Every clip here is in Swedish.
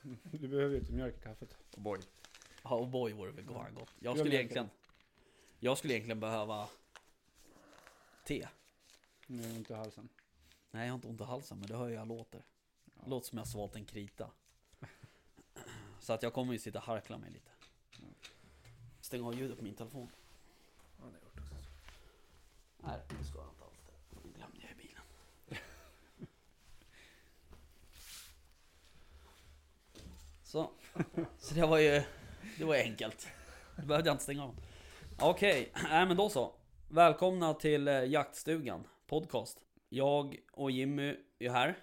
Du behöver ju inte mjölk i kaffet. Oh boy. Ja, och boy vore väl fan gott. Jag Jag skulle vet egentligen... Jag skulle egentligen behöva... Te. Nu är det inte i halsen. Nej, jag har inte ont i halsen, men det hör jag låter. Låter som jag svalt en krita. Så att jag kommer ju sitta och harkla mig lite. Stäng av ljudet på min telefon. Ja, det har jag gjort också. Nej, det ska jag inte alls. Det glömde jag i bilen. Så. Så det var ju det var ju enkelt. Då behövde jag inte stänga av. Okej, nej men då så. Välkomna till eh, Jaktstugan podcast. Jag och Jimmy är här.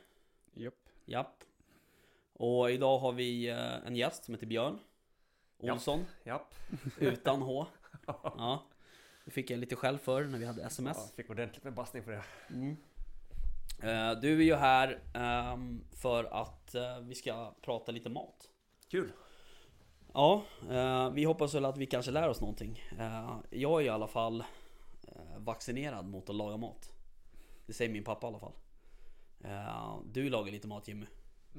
Japp. Japp. Och idag har vi eh, en gäst som heter Björn Japp. Olsson, Japp. utan H. Ja. Det fick jag lite skäll för när vi hade sms. Ja, fick ordentligt med bassning för det. Mm. Eh, Du är ju här ehm, för att eh, vi ska prata lite mat. Kul. Ja, eh, vi hoppas väl att vi kanske lär oss någonting. Eh, Jag är i alla fall eh, vaccinerad mot att laga mat. Det säger min pappa i alla fall. Eh, Du lagar lite mat Jimmy.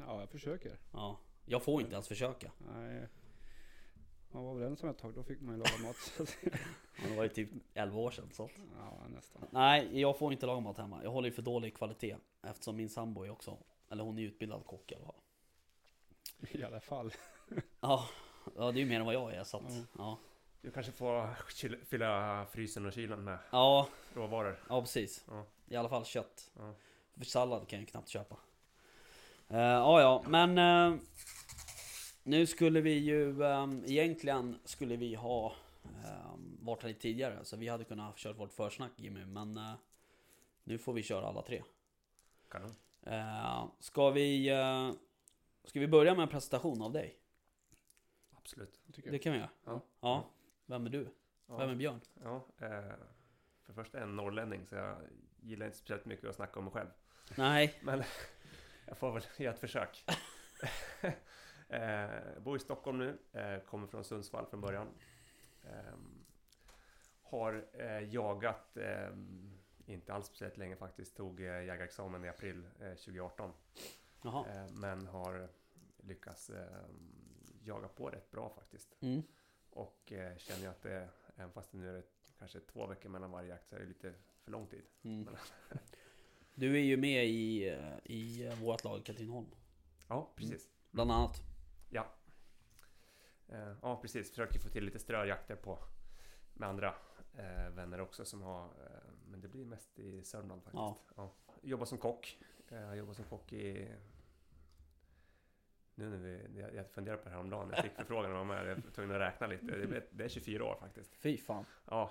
Ja, jag försöker. Ja, jag får inte ens försöka. Nej. Man var överens om ett tag, då fick man ju laga mat. så att- Det var ju typ 11 år sedan. Så. att- ja, nästan. Nej, jag får inte laga mat hemma. Jag håller ju för dålig kvalitet. Eftersom min sambo är också, eller hon är utbildad kock i alla fall. I alla fall. Ja, ja det är ju mer än vad jag är så Mm. att, ja. Du kanske får kyl- fylla frysen och kylen med ja. råvaror. Ja precis. Ja. I alla fall kött. Ja. För sallad kan jag ju knappt köpa. Uh, ja, ja, men eh, nu skulle vi ju um, egentligen skulle vi ha um, varit här lite tidigare så vi hade kunnat ha kört vårt försnack Jimmy men eh, nu får vi köra alla tre. Kanon. Uh, ska vi eh, Ska vi börja med en presentation av dig? Absolut. Tycker Det jag. kan vi göra. Ja. Ja. Vem är du? Ja. Vem är Björn? Ja, eh, för först är jag en norrlänning så jag gillar inte speciellt mycket att snacka om mig själv. Nej. Men jag får väl göra ett försök. eh, bor i Stockholm nu, eh, kommer från Sundsvall från början. Ehm, har eh, jagat, ehm, inte alls speciellt länge faktiskt, tog eh, jägarexamen i april eh, 2018. Jaha. Eh, men har lyckats ehm, jaga på rätt bra faktiskt. Mm. Och eh, känner jag att det, även fast det nu är det kanske två veckor mellan varje jakt, så är det lite för lång tid. Mm. Du är ju med i, eh, i eh, vårt lag Katrineholm. Ja, precis. Bland annat. Eh, ja, precis. Försöker få till lite ströjakter på med andra eh, vänner också som har, eh, men det blir mest i Sörmland faktiskt. Ja. Ja. Jobbar som kock. Eh, jag jobbar som kock i nu när vi, jag- jag funderar på det här om dagen. Jag fick förfrågan om jag var tvungen att räkna lite. Det är, det är 24 år faktiskt. Fy fan. Ja,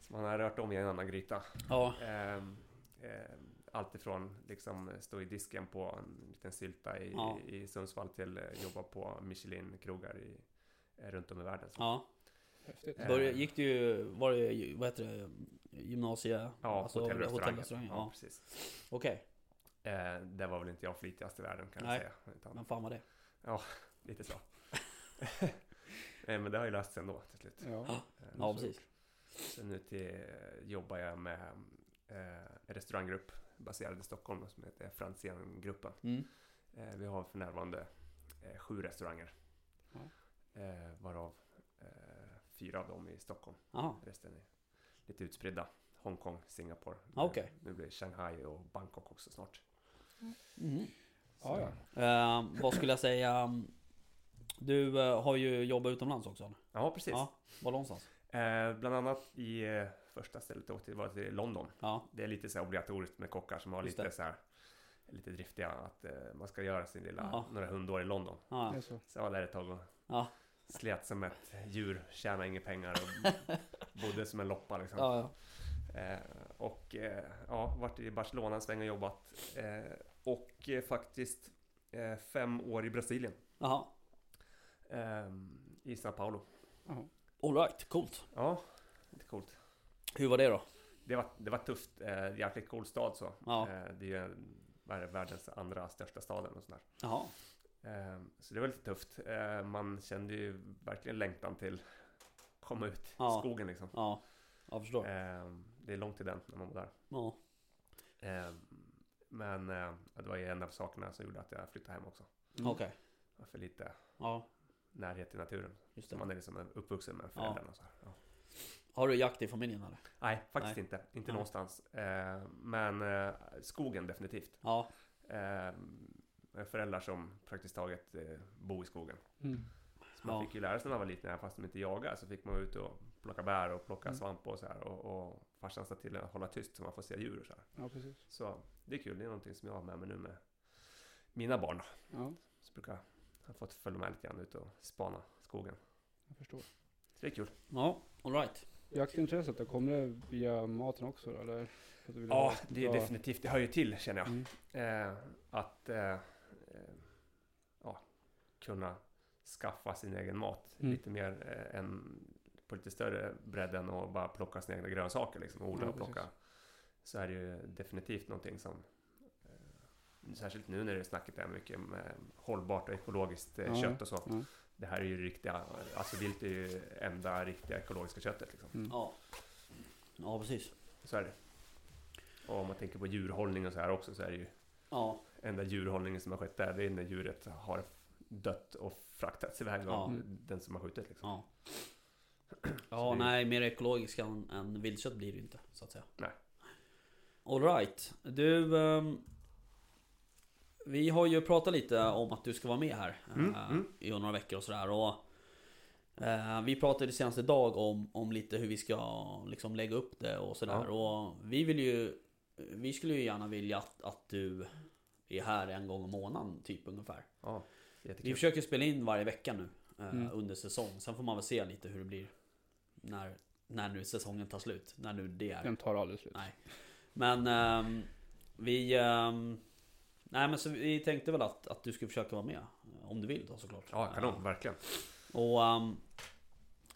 så man har rört om i en annan gryta. Ja. Ehm, ehm, allt ifrån liksom stå i disken på en liten sylta i, Ja. i Sundsvall till eh, jobba på Michelin-krogar i, eh, runt om i världen. Så- ja. Häftigt. Eh, Började, gick du ju, var det, ju- vad heter det, gymnasie... Ja, hotell och restauranger. Alltså hotellrestaurang, ja. Ja. precis. Okej, Eh, där var väl inte jag flitigast i världen kan Nej. jag säga. Utan men fan var det? lite så. Eh, Men det har ju löst sig ändå till slut. Ja. Eh, Ja, så- precis. Så nu till, eh, jobbar jag med eh, en restauranggrupp baserad i Stockholm som heter Franzén-gruppen. Mm. Eh, vi har för närvarande eh, sju restauranger. Ja. Eh, varav eh, fyra av dem är i Stockholm. Aha. Resten är lite utspridda. Hongkong, Singapore. Eh, Ah, okej. Nu blir det Shanghai och Bangkok också snart. Mm. Ja, ja. Eh, vad skulle jag säga? Du eh, har ju jobbat utomlands också eller? Ja, precis. Ja. Var någonstans? Eh, bland annat i eh, första stället jag åkte till var till London. Ja. Det är lite så här obligatoriskt med kockar som har Just lite det. så här lite driftiga att eh, man ska göra sin lilla Ja. några hundår i London. Det Ja. är så. Så jag var där ett tag och Ja. slet som ett djur, tjänade inga pengar och bodde som en loppa liksom. Ja, ja. Eh, och eh, ja, varit i Barcelona en sväng och jobbat. Eh, och eh, faktiskt eh, fem år i Brasilien. Jaha. Eh, I Sao Paulo. Ja. Alright, coolt. Ja, lite coolt. Hur var det då? Det var, det var tufft. Eh, jäkligt cool stad så. Ja. Eh, det är ju en- vad är det, världens andra största staden och sådär. Jaha. Eh, så det var lite tufft. Eh, man kände ju verkligen längtan till komma ut i Ja. skogen liksom. Ja. Jag förstår. Eh, det är långt till den när man var där. Ja. Eh, men eh, det var ju en av sakerna som gjorde att jag flyttade hem också. Okej. Jag för lite Ja, närhet till naturen. just Så det. man är liksom uppvuxen med Ja. föräldrarna. och Så här. Ja. Har du jakt i familjen eller? Nej, faktiskt Nej. inte. Inte Nej. någonstans. Eh, men eh, skogen definitivt. Ja, Eh, jag har föräldrar som praktiskt taget eh, bor i skogen. Mm. Så man Ja. fick ju lära sig när man var liten, även fast de inte jagade, så fick man vara ute och plocka bär och plocka Mm. svamp och så här. Och, och farsan sa till att hålla tyst så man får se djur och så här. Ja, precis. Så det är kul. Det är någonting som jag har med mig nu med mina barn. Ja, Så brukar jag ha fått följa med lite grann ut och spana skogen. jag förstår. Så det är kul. ja alright. Jaktintresset då, kommer det via maten också då, eller? För att du vill Ja, ha- det är definitivt. Det hör ju till känner jag. Mm. Eh, att eh, eh, ja, kunna skaffa sin egen mat Mm. lite mer eh, än på lite större bredd än att bara plocka sina egna grönsaker liksom, och odla Ja, och plocka. precis. Så är det ju definitivt någonting som eh, Särskilt nu när det snacket är mycket om eh, hållbart och ekologiskt eh, Ja, kött och så. ja. mm. Det här är ju riktiga, alltså vilt är ju enda riktiga ekologiska köttet liksom. Mm. Ja. Ja, precis. Så är det. Och om man tänker på djurhållning och så här också så är det ju Ja, enda djurhållningen som har skett där, det är när djuret har dött och fraktats iväg av Ja. den som har skjutit. Liksom. ja. Så Ja, det- nej, mer ekologisk än, än viltkött blir det ju inte, så att säga. Nej. Alright. Du... ehm, vi har ju pratat lite om att du ska vara med här Mm, eh, mm. i några veckor och sådär. Och, eh, vi pratade senast idag om, om lite hur vi ska liksom lägga upp det och sådär. Ja. Och vi vill ju... Vi skulle ju gärna vilja att, att du är här en gång om månaden, typ ungefär. Ja, Vi jättekul. försöker spela in varje vecka nu eh, Mm. under säsong. Sen får man väl se lite hur det blir när, när nu säsongen tar slut. När nu det är. Den tar aldrig slut. Nej. Men ehm, vi... ehm, nej men så vi tänkte väl att, att du skulle försöka vara med. eh, Om du vill då såklart. Eh, Ja, kanon, verkligen. Och ehm,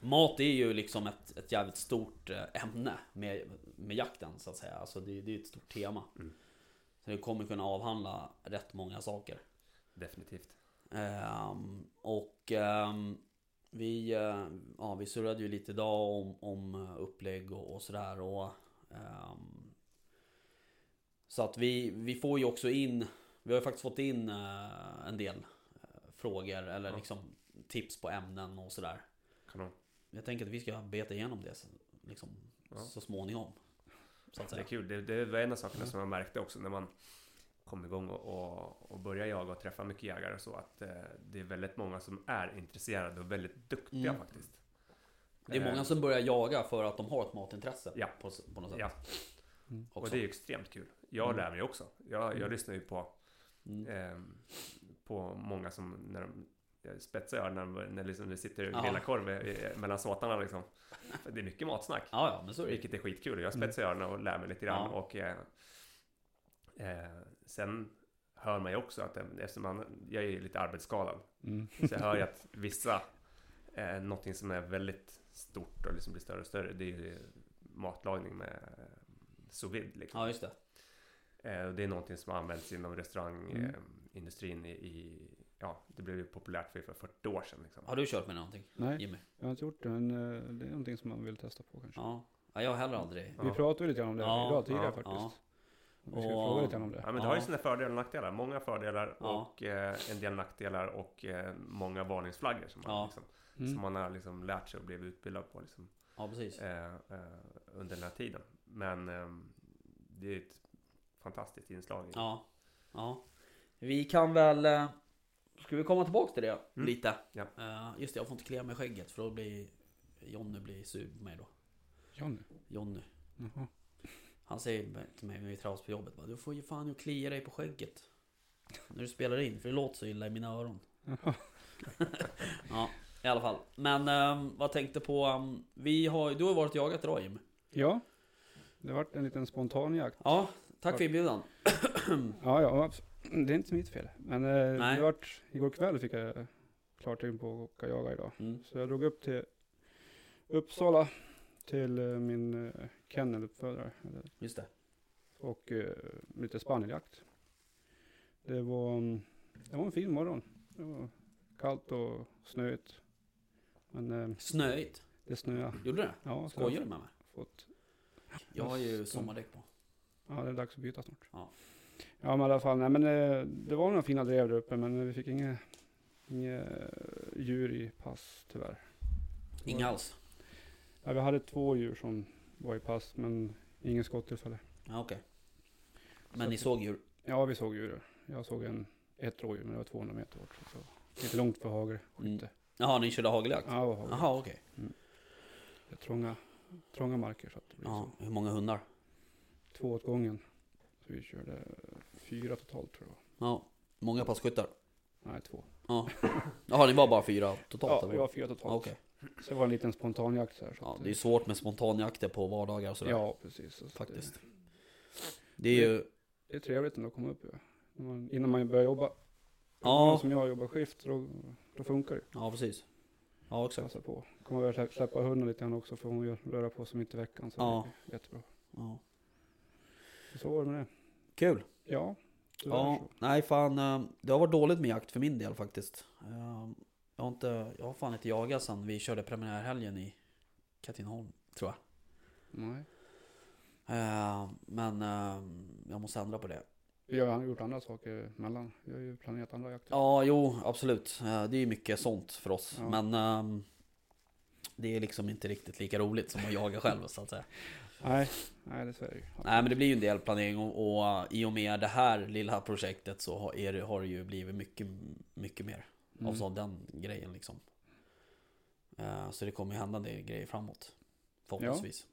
mat är ju liksom ett, ett jävligt stort eh, ämne med, med jakten så att säga. Alltså det, är- det är ett stort tema. Mm. Så du kommer kunna avhandla rätt många saker. Definitivt. Ehm, och ehm, vi, eh, ja, vi surrade ju lite idag om, om eh, upplägg och, och sådär. Och, ehm, så att vi, vi får ju också in, vi har ju faktiskt fått in eh, en del eh, frågor eller Ja. liksom tips på ämnen och sådär. Kanon. Jag tänker att vi ska beta igenom det så, liksom, Ja. så småningom. Så att Det är säga. Mm. kul. Det, det var en av sakerna som jag märkte också när man kom igång och, och, och började jaga och träffa mycket jägare och så. Att eh, det är väldigt många som är intresserade och väldigt duktiga Mm. faktiskt. Det är Eh, många som börjar jaga för att de har ett matintresse Ja. på, på något sätt. Ja. Mm. Och Också. det är ju extremt kul. Jag Mm. lär mig också. Jag, jag lyssnar ju på Mm. ehm, på många som när de eh, spetsar öronen när, de- när liksom det sitter Ja. och grillar korv i- i- mellan såtarna liksom. För Det är mycket matsnack, Ja, ja, men så är det ju. vilket är skitkul. Jag spetsar öronen och lär mig lite grann. Ja. Och, eh, eh, sen hör man ju också att eh, eftersom man, jag är ju lite arbetsskadad Mm. så jag hör ju att vissa, eh, någonting som är väldigt stort och liksom blir större och större, det är ju matlagning med eh, sous vide. Liksom. Ja, just det. Eh, och Det är någonting som används inom Mm. restaurangindustrin i, i... Ja, det blev ju populärt för ungefär 40 år sedan. Liksom. Har du kört med någonting Nej, Jimmy? jag har inte gjort det, men eh, det är någonting som man vill testa på kanske. Ja. ja jag har heller aldrig. Vi Ja. pratade lite grann om det Ja, idag tidigare ja, faktiskt. Vi ska Och- fråga lite grann om det. Ja, men det har ju Ja. sina fördelar och nackdelar. Många fördelar Ja. och eh, en del nackdelar och eh, många varningsflaggor som man, Ja. liksom, som Mm. man har liksom lärt sig och blivit utbildad på liksom, Ja, precis. eh, eh, under den här tiden. Men ehm, det är ett fantastiskt inslag. i- Ja. ja. Vi kan väl... eh, Ska vi komma tillbaka till det lite? Ja. Eh, just det, jag får inte klia mig i skägget för då blir Jonny blir sur på mig då. Johnny? Jonny. Jaha. Han säger till mig när vi träffas på jobbet bara, Du får ju fan ju klia dig på skägget. När du spelar in, för det låter så illa i mina öron. ja, i alla fall. Men um, vad tänkte på... ehm, vi har, du har ju varit och jagat idag Jim. Ja, det vart en liten spontan jakt. Ja, tack Tack. för inbjudan. Ja, ja, abs- det är inte mitt fel. Men eh, Nej. det vart, igår kväll fick jag klartecken på att åka jaga idag. Mm. Så jag drog upp till Uppsala till eh, min eh, kenneluppfödare eller- Just det. och eh, lite spaniljakt. Det var, mm, det var en fin morgon. Det var kallt och snöigt. Men eh, Snöigt. det snöade. Gjorde det? Ja, så jag Skojar du med mig? har fått, Jag har ju Mm. sommardäck på. ja, det är dags att byta snart. Ja. Ja, men i alla fall, nej, men, eh, det var några fina drev där uppe men vi fick inga, inga djur i pass tyvärr. Inga alls? Ja, vi hade två djur som var i pass men ingen skottillfälle. Ja, okej. Men ni såg djur? Ja, vi såg djur. Jag såg en, ett rådjur men det var 200 meter bort. Så det var inte långt för hagel. Skytte. Jaha, ni körde hageljakt? Ja, det var hagel. Mm. Jaha, okej. Det är trånga, trånga marker så att det blir Ja, hur många hundar? så. Två åt gången. Så vi körde fyra totalt tror jag. Ja, många passkyttar? Nej, två. Ja. Jaha, ni var bara fyra totalt? Ja, eller? vi var fyra totalt. Ja, okej. Så det var en liten spontanjakt så här. Så Ja, att, det är ju svårt med spontanjakter på vardagar och sådär. ja, precis. Så att Faktiskt. Det är ju... Det, det är trevligt ändå att komma upp. Ja. När man, innan man börjar jobba. Ja. Som jag jobbar skift, så då, då funkar det. Ja, precis. Ja, exakt. Passa på. Kommer väl slä- släppa hunden lite grann också för hon gör- röra på sig mitt i veckan. Så Ja. det är jättebra. Ja. Så var det med det. Kul! Ja. tyvärr Ja, så. nej fan. eh, Det har varit dåligt med jakt för min del faktiskt. Eh, Jag har, inte, jag har fan inte jagat sen vi körde premiärhelgen i Katrineholm, tror jag. Nej. Eh, Men eh, jag måste ändra på det. Vi har ju gjort andra saker mellan. Vi har ju planerat andra jakter. Ja, jo, absolut. Eh, Det är ju mycket sånt för oss. Ja. Men ehm, det är liksom inte riktigt lika roligt som att jaga själv så att säga. Nej, nej dessvärre. Ja. Nej, men det blir ju en del planering och, och eh, i och med det här lilla projektet så har, är, det- har det ju blivit mycket, mycket mer. av Mm. så den grejen liksom. Eh, Så det kommer ju hända en del grejer framåt. Förhoppningsvis. Ja,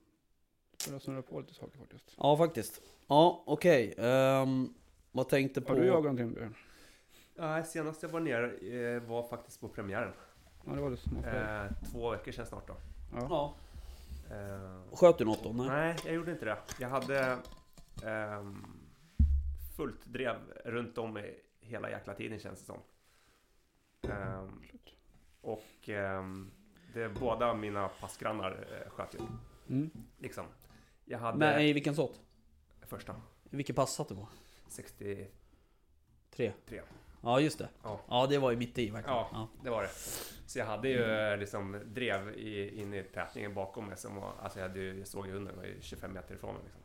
Börjar snurra på lite saker faktiskt. faktiskt. Ja, okej. Ehm, vad tänkte på... Har du jagat någonting Björn? Nej, senast jag var ner eh, var faktiskt på premiären. Ja, det var det som var fel. Eh, två veckor sedan snart då. Ja. Ja. Eh, Sköt du något då? Nej. nej, jag gjorde inte det. Jag hade ehm, fullt drev runt om i hela jäkla tiden känns det som. Ehm, och ehm, det, båda mina passgrannar eh, sköt ju. Mm. Liksom. Jag hade Men i vilken sort? första I vilken pass satt du på? 60 Tre? Tre. Ja, just det. Ja. ja det var ju mitt i verkligen. Ja. Ja. Det var det. Så jag hade ju eh, liksom drev i, in i tätningen bakom mig som var, alltså jag, hade, ju- jag såg ju hunden, var ju 25 meter ifrån mig. Liksom.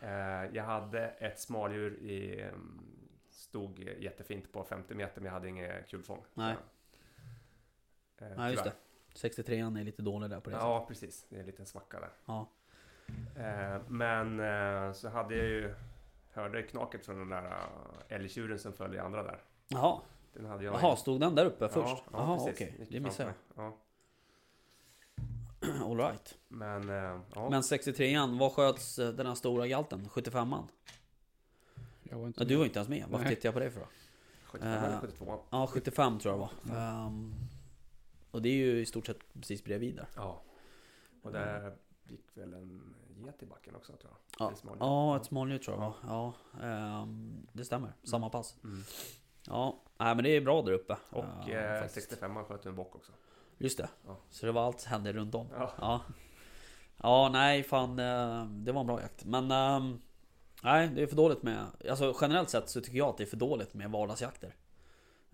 Ja. Eh, jag hade ett smaldjur i, mm, stod jättefint på 50 meter men jag hade inget kulfång. Nej. Eh, Nej, just tyvärr. det. 63an är lite dålig där på det sättet. Ja, precis. Det är en liten svacka där. Ja. Eh, men eh, så hade jag ju, hörde knaket från den där eh, älgtjuren som följde andra där. Jaha. Den hade jag Jaha, stod den där uppe först? Ja, ja, Jaha, precis. okej. Gick Det missade jag. framför. Ja. All right. Men, eh, ja. Men 63an, vad sköts eh, den här stora galten? 75an? Jag var inte Ja, du var inte ens med. Varför Nej. tittar jag på dig för då? 75 eller Eh, 72. Ja, 75 tror jag det var. Ehm, och det är ju i stort sett precis bredvid där. Ja. Och där gick väl en get i backen också tror jag. Det är smal. mm. Ja, ett småljud tror jag det var. Ja, ehm, det stämmer. Samma pass. Mm. Ja, nej, men det är bra där uppe. Och Ehm, eh, faktiskt. 65 sköt en bock också. Just det. Ja. Så det var allt som hände runt om. Ja. Ja. Ja, nej fan. eh, Det var en bra jakt. Men ehm, nej, det är för dåligt med... Alltså generellt sett så tycker jag att det är för dåligt med vardagsjakter.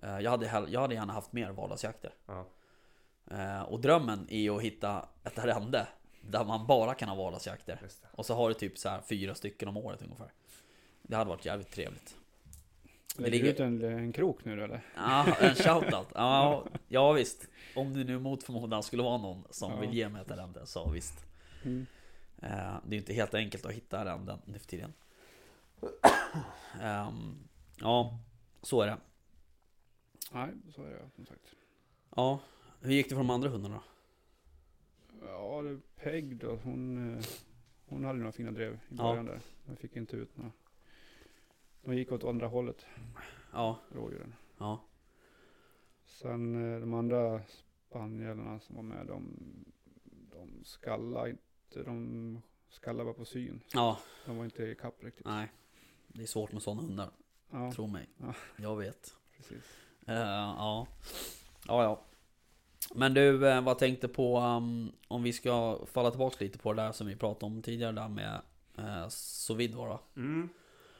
Eh, Jag hade, hell- jag hade gärna haft mer vardagsjakter. Ja. Eh, Och drömmen är ju att hitta ett arrende där man bara kan ha vardagsjakter. Just det. Och så har du typ så här fyra stycken om året ungefär. Det hade varit jävligt trevligt. Det Lägger du ut ligger... en, en krok nu eller? Ja, en shoutout. Ja, ja visst. Om det nu mot förmodan skulle vara någon som Ja. vill ge mig ett arrende så visst. Mm. Eh, Det är ju inte helt enkelt att hitta arrenden nu för tiden. Ehm, Ja, så är det. Nej, så är det som sagt. Ja, hur gick det för de andra hundarna då? Ja, det är Peg då. Hon, eh, hon hade några fina drev i Ja. början där. Men fick inte ut några. De gick åt andra hållet, Ja, rådjuren. ja, Sen eh, de andra spanjorerna som var med, de, de skallade inte. De skallade bara på syn. ja, De var inte ikapp riktigt. nej. Det är svårt med sådana hundar, Ja, tro mig. Ja. Jag vet. precis. Eh, ja. ja, ja. Men du, eh, vad tänkte på um, om vi ska falla tillbaka lite på det där som vi pratade om tidigare där med uh, sous vide va? Mm.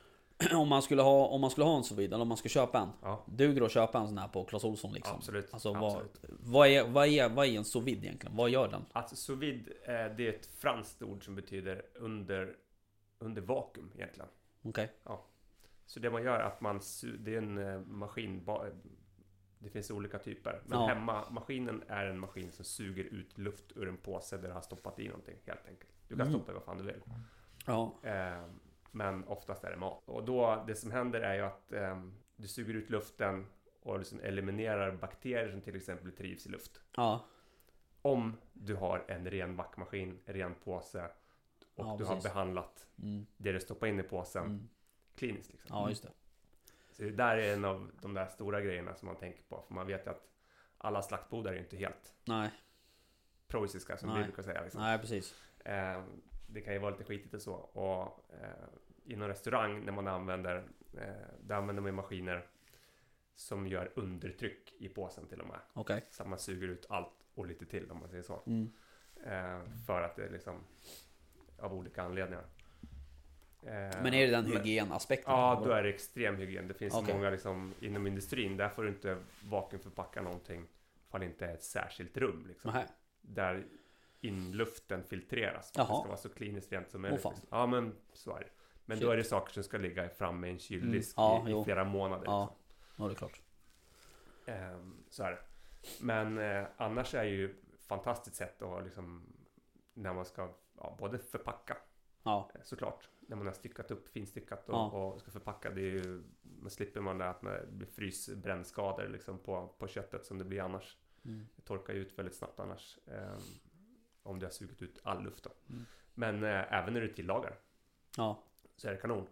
om, man skulle ha, om man skulle ha en sous vide, eller om man ska köpa en. Ja, Duger det att köpa en sån här på Clas Ohlson liksom? absolut. Alltså vad, absolut. vad, är, vad, är, vad är en sous vide egentligen? Vad gör den? Alltså sous vide, eh, det är ett franskt ord som betyder under, under vakuum egentligen. Okej? Så det man gör är att man, su- det är en eh, maskin, ba- det Det finns olika typer. Men Ja. hemmamaskinen är en maskin som suger ut luft ur en påse där du har stoppat i någonting helt enkelt. Du kan Mm. stoppa i vad fan du vill. Ja. Eh, men oftast är det mat. Och då, det som händer är ju att eh, du suger ut luften och liksom eliminerar bakterier som till exempel trivs i luft. Ja. Om du har en ren vackmaskin, ren påse och Ja, du har precis. behandlat Mm. det du stoppar in i påsen Mm. kliniskt. Liksom. Ja, just det. Så det där är en av de där stora grejerna som man tänker på. För man vet ju att alla slaktbodar är ju inte helt Nej, preussiska som Nej. vi brukar säga. Liksom. nej precis. Eh, det kan ju vara lite skitigt och så. Och eh, inom restaurang när man använder, eh, där använder man ju maskiner som gör undertryck i påsen till och med. Okej. Så att man suger ut allt och lite till om man säger så. Mm. Eh, för att det liksom av olika anledningar. Eh, Men är det den men- hygienaspekten? Ja, då är det extrem hygien. Det finns Okej. många liksom, inom industrin, där får du inte vakuumförpacka någonting ifall det inte är ett särskilt rum. Liksom, Nähä. där inluften filtreras. För att Jaha. det ska vara så kliniskt rent som möjligt. fan. liksom. Ja, men så är det. Men då Shit. är det saker som ska ligga framme i en kyldisk Mm. Ja, i, i jo. flera månader. Ja. Liksom. Ja, det är klart. Ehm, så är det. Men eh, annars är det ju ett fantastiskt sätt att liksom när man ska ja, både förpacka Ja, eh, såklart när man har styckat upp finstyckat och, Ja. och ska förpacka. Det är ju, man slipper man det att man- det blir frysbrännskador liksom på, på köttet som det blir annars. mm. Det torkar ju ut väldigt snabbt annars. ehm, om det har sugit ut all luft då. Mm. Men eh, även när du tillagar ja, så är det kanon.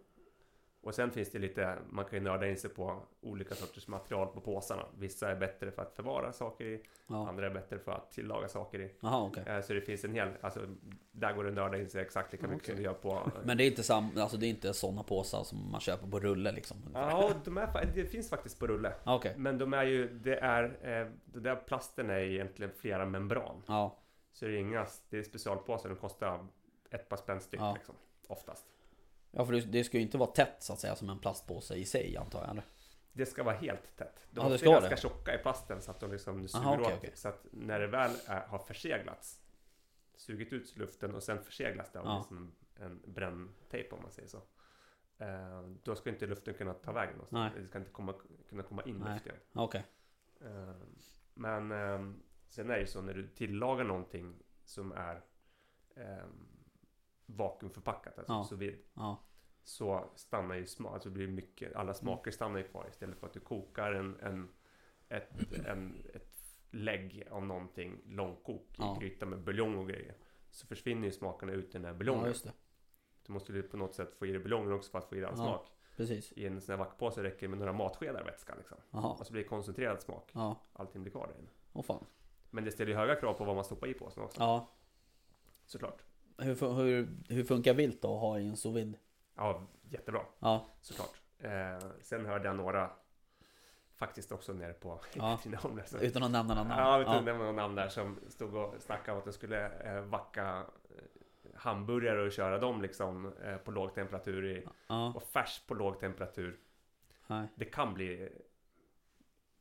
Och sen finns det lite, man kan ju nörda in sig på olika sorters material på påsarna. Vissa är bättre för att förvara saker i, ja. andra är bättre för att tillaga saker i. Jaha, okej. Eh, Så det finns en hel, alltså där går det att nörda in sig exakt lika mycket som du gör på... eh, Men det är inte sam, alltså det är inte sådana påsar som man köper på rulle liksom? ungefär? Ja, de är, fa- det finns faktiskt på rulle. Ja, Okej. Men de är ju, det är, eh, den där plasten är egentligen flera membran. Ja, Så det är inga, det är specialpåsar, de kostar ett par spänn styck Ja. liksom. Oftast. ja för det, det ska ju inte vara tätt så att säga som en plastpåse i sig antar jag eller? Det ska vara helt tätt. De Ja, det är ska ganska det. tjocka i plasten så att de liksom suger Aha, okej, åt. okej. Så att när det väl är, har förseglats, sugit ut luften och sen förseglas det av Ja. liksom en bränntejp om man säger så. Eh, då ska inte luften kunna ta vägen någonstans. Det ska inte komma, kunna komma in Nej. luft igen. Ja, Okej. Eh, men eh, sen är det ju så när du tillagar någonting som är eh, vakuumförpackat, alltså Ja. sous vide Ja, så stannar ju smak, alltså det blir mycket, alla smaker stannar ju kvar istället för att du kokar en, en, ett, en, ett lägg av någonting långkok i Ja. gryta med buljong och grejer. Så försvinner ju smakerna ut i den här ja buljongen. just det. du måste ju på något sätt få i dig buljongen också för att få i dig all Ja. smak. Precis. I en sån här vackpåse räcker det med några matskedar vätska liksom. Jaha. Och så blir det koncentrerad smak. Ja, Allting blir kvar där inne. åh fan. Men det ställer ju höga krav på vad man stoppar i påsen också. Ja. Såklart. Hur, fun- hur, hur funkar vilt då att ha i en sous vide? Ja, jättebra. Ja, Såklart. Eh, sen hörde jag några faktiskt också nere på alltså. Ja. Katrineholm. där som- utan att nämna någon namn. Ja, jag vet inte, det var någon namn där som stod och snackade om att de skulle eh, vacka eh, hamburgare och köra dem liksom eh, på låg temperatur i, ja. och färs på låg temperatur. Nej, Det kan bli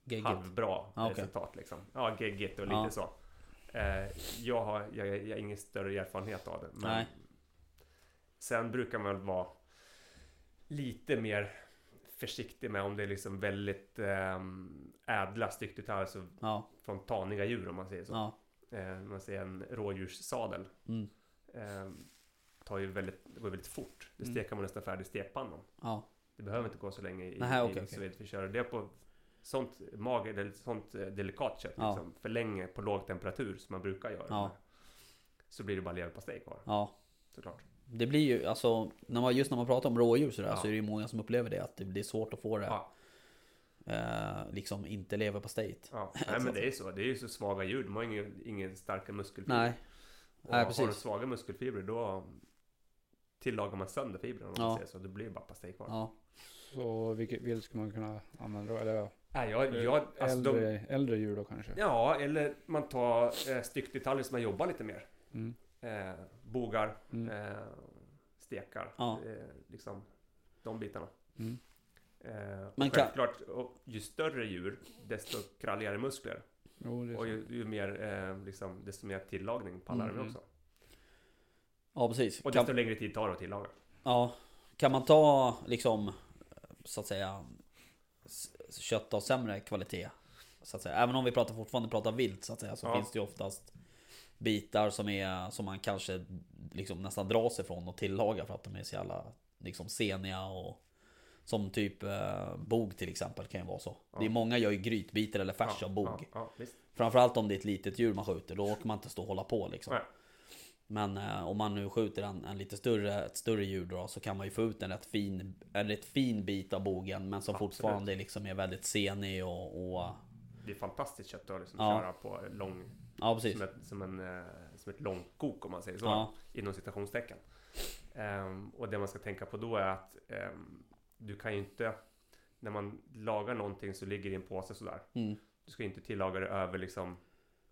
geggigt. halvbra Ja, okej. resultat liksom. Ja, geggigt och lite Ja. så. Eh, jag, har, jag, jag har ingen större erfarenhet av det. Men Nej. Sen brukar man väl vara lite mer försiktig med om det är liksom väldigt eh, ädla styckdetaljer, alltså Ja, från taniga djur om man säger så. ja. Eh, man säger en rådjurssadel. Mm. Eh, tar ju väldigt, det går väldigt fort. Det Mm. stekar man nästan färdigt i stekpannan. Ja, Det behöver inte gå så länge i, Nähä, i okej, så okej. vidare. För kör du det på sånt mager, eller sånt eh, delikat kött Ja. liksom, för länge på låg temperatur som man brukar göra. Ja. Så blir det bara leverpastej kvar ja. såklart. Det blir ju, alltså, när man, just när man pratar om rådjur sådär, Ja. så är det ju många som upplever det, att det blir svårt att få det, Ja. eh, liksom inte leva på state. Ja. Nej, men det är ju så. Det är ju så svaga djur. De har ingen, ingen starka muskelfibrer. Nej, och nej, har de precis. svaga muskelfibrer då tillagar man sönder fibrerna om Ja. man säger så. Det blir bara pastej kvar. Ja, Så vilket vilt skulle man kunna använda då? Eller ja, Nej, jag, jag, alltså de, äldre, äldre djur då kanske? Typ. Ja, eller man tar eh, styckdetaljer som man jobbar lite mer. Mm. Eh, bogar, Mm. eh, stekar, Ja. eh, liksom de bitarna. Mm. Eh, Men Men kan- självklart, och ju större djur, desto kralligare muskler. Jo, det är Och sant. ju, ju mer, eh, liksom, desto mer tillagning på alla Mm. dem också. ja precis. Och Kan, desto längre tid tar det att tillaga. ja, kan man ta liksom, så att säga, s- kött av sämre kvalitet Så att säga. Även om vi pratar, fortfarande pratar vilt så att säga så Ja. finns det ju oftast bitar som, är, som man kanske liksom nästan drar sig från och tillagar för att de är så jävla liksom seniga och som typ eh, bog till exempel kan ju vara så. Det är Ja. många gör ju grytbitar eller färs av bog. Ja, ja, visst. Framförallt om det är ett litet djur man skjuter, då orkar man inte stå och hålla på liksom. Nej. Men eh, om man nu skjuter en, en lite större, ett större djur då, så kan man ju få ut en rätt fin, en rätt fin bit av bogen men som Absolut. fortfarande liksom är väldigt senig och, och Det är fantastiskt kött att liksom Ja. köra på lång, ja precis. som, ett, som, en, eh, som ett långt kok om man säger så. Ja. Inom citationstecken. Ehm, och det man ska tänka på då är att ehm, du kan ju inte, när man lagar någonting så ligger det i en påse sådär. Mm. Du ska ju inte tillaga det över liksom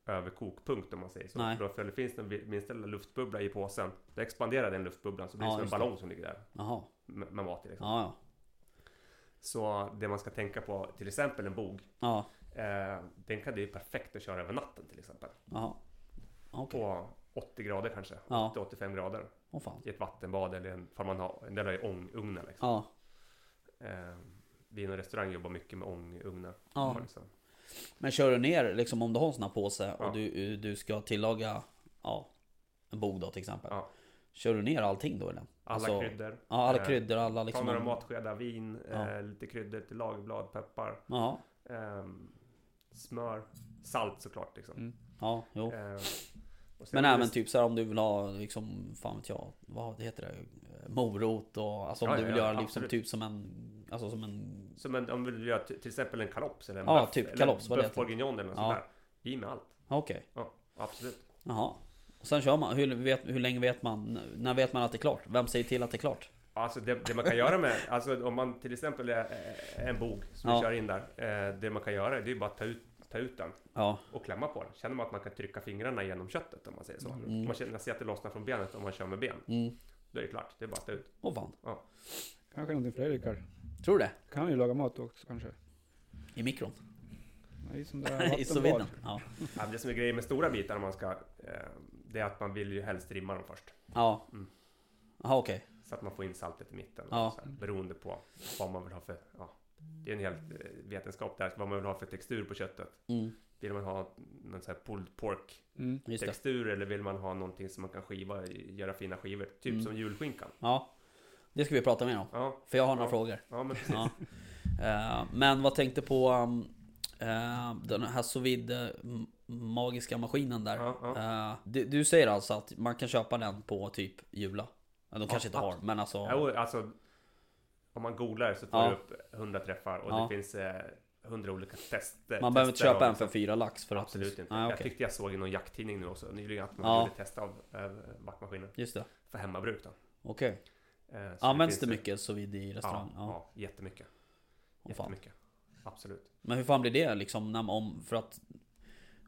över kokpunkt om man säger så. Nej. För då följer, finns det en vi- minsta lilla luftbubbla i påsen. Då expanderar den luftbubblan så blir det Ja, som en just det. ballong som ligger där Jaha, med, med mat i. Liksom. ja ja. Så det man ska tänka på, till exempel en bog. Ja, Eh, den kan det ju perfekt att köra över natten till exempel. jaha. Okej, På 80 grader kanske. Ja. 80-85 grader. åh fan. i ett vattenbad eller en, för man har, en del har ju ångugnar liksom. Ja, Eh, vin och restaurang jobbar mycket med ångugnar. Ja. Har Liksom. men kör du ner liksom om du har en sån här påse och Ja. du, du ska tillaga, ja, en bog då till exempel. Ja. Kör du ner allting då eller? Alla Alltså, kryddor. Ja, alla Eh, kryddor, alla liksom... Ta några matskedar vin, Ja. eh, lite kryddor till lagerblad, peppar, Ja, ehm, smör, salt såklart liksom. Mm. ja, jo. Eh, och sen Men är det- även typ så här om du vill ha liksom, fan vet jag, vad heter det? Morot och alltså om Ja, du ja, vill ja, göra liksom absolut. typ som en, alltså som en, Som en, om du vill göra t- till exempel en kalops eller en Ja, bœuf, typ eller kalops, vad det bœuf heter. bourguignon eller något Ja. sånt där. I med allt. okej, Ja, absolut. jaha. Och sen kör man, hur, vet, hur länge vet man, när vet man att det är klart? Vem säger till att det är klart? Alltså det, det man kan göra med, alltså om man till exempel är eh, en bog som Ja. vi kör in där. Eh, det man kan göra det är ju bara att ta ut, ta ut den Ja, och klämma på den. Känner man att man kan trycka fingrarna genom köttet om man säger så. Mm. Man känner sig att det lossnar från benet om man kör med ben. mm, Då är det klart, det är bara att ta ut. åh fan. Kanske någonting Fredrik har. Tror du det? Kan ju laga mat också kanske. I mikron? I sån där I vattenbad. sous-viden? Ja. Ja, men det som är grejen med stora bitar om man ska, eh, det är att man vill ju helst rimma dem först. Ja. Mm. Jaha okej. Så att man får in saltet i mitten. Ja. Och så här, beroende på vad man vill ha för, ja. Det är en helt eh, vetenskap där, vad man vill ha för textur på köttet. Mm, Vill man ha någon sån här pulled pork Mm. just det. textur eller vill man ha någonting som man kan skiva, göra fina skivor? Typ Mm. som julskinkan. Ja. Det ska vi prata mer om. Ja, För jag har några Ja. frågor. ja men precis. Ja. Eh, men vad tänkte på um, eh, den här sous vide m- magiska maskinen där. Ja, ja. Eh, du, du säger alltså att man kan köpa den på typ Jula? Ja, De kanske inte har, men alltså... Jo, alltså, om man googlar så får Ja. du upp 100 träffar och Ja. det finns eh, 100 olika tester. man behöver inte tester köpa av- liksom. en för fyra lax för att... Absolut inte. Nej, Jag okej. tyckte jag såg i någon jakttidning nu också nyligen att man Ja. gjorde test av eh, vaktmaskiner Just det. för hemmabruk. Då. Okej. Eh, så Används finns det ju- mycket sous vide i Ja, restaurang? Ja. ja, jättemycket. Åh, fan. Jättemycket. Absolut. Men hur fan blir det liksom när man, om, för att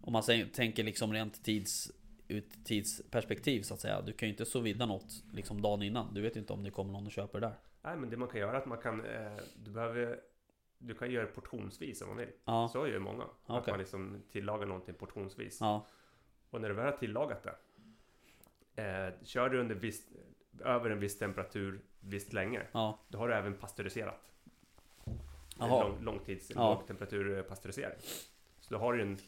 Om man säger, tänker liksom rent tids ut tidsperspektiv så att säga Du kan ju inte sous vida något liksom dagen innan Du vet ju inte om det kommer någon och köper det där Nej, men det man kan göra är att man kan... Eh, du behöver... Du kan göra det portionsvis om man vill. Ja, Så gör många. Att Okej. man liksom tillagar någonting portionsvis. ja, Och när du väl har tillagat det. Eh, kör du under viss, över en viss temperatur visst länge. ja Då har du även pasteuriserat. En Jaha. lång, långtids, Ja. lågtemperaturpasteurisering. Så då har du ju en...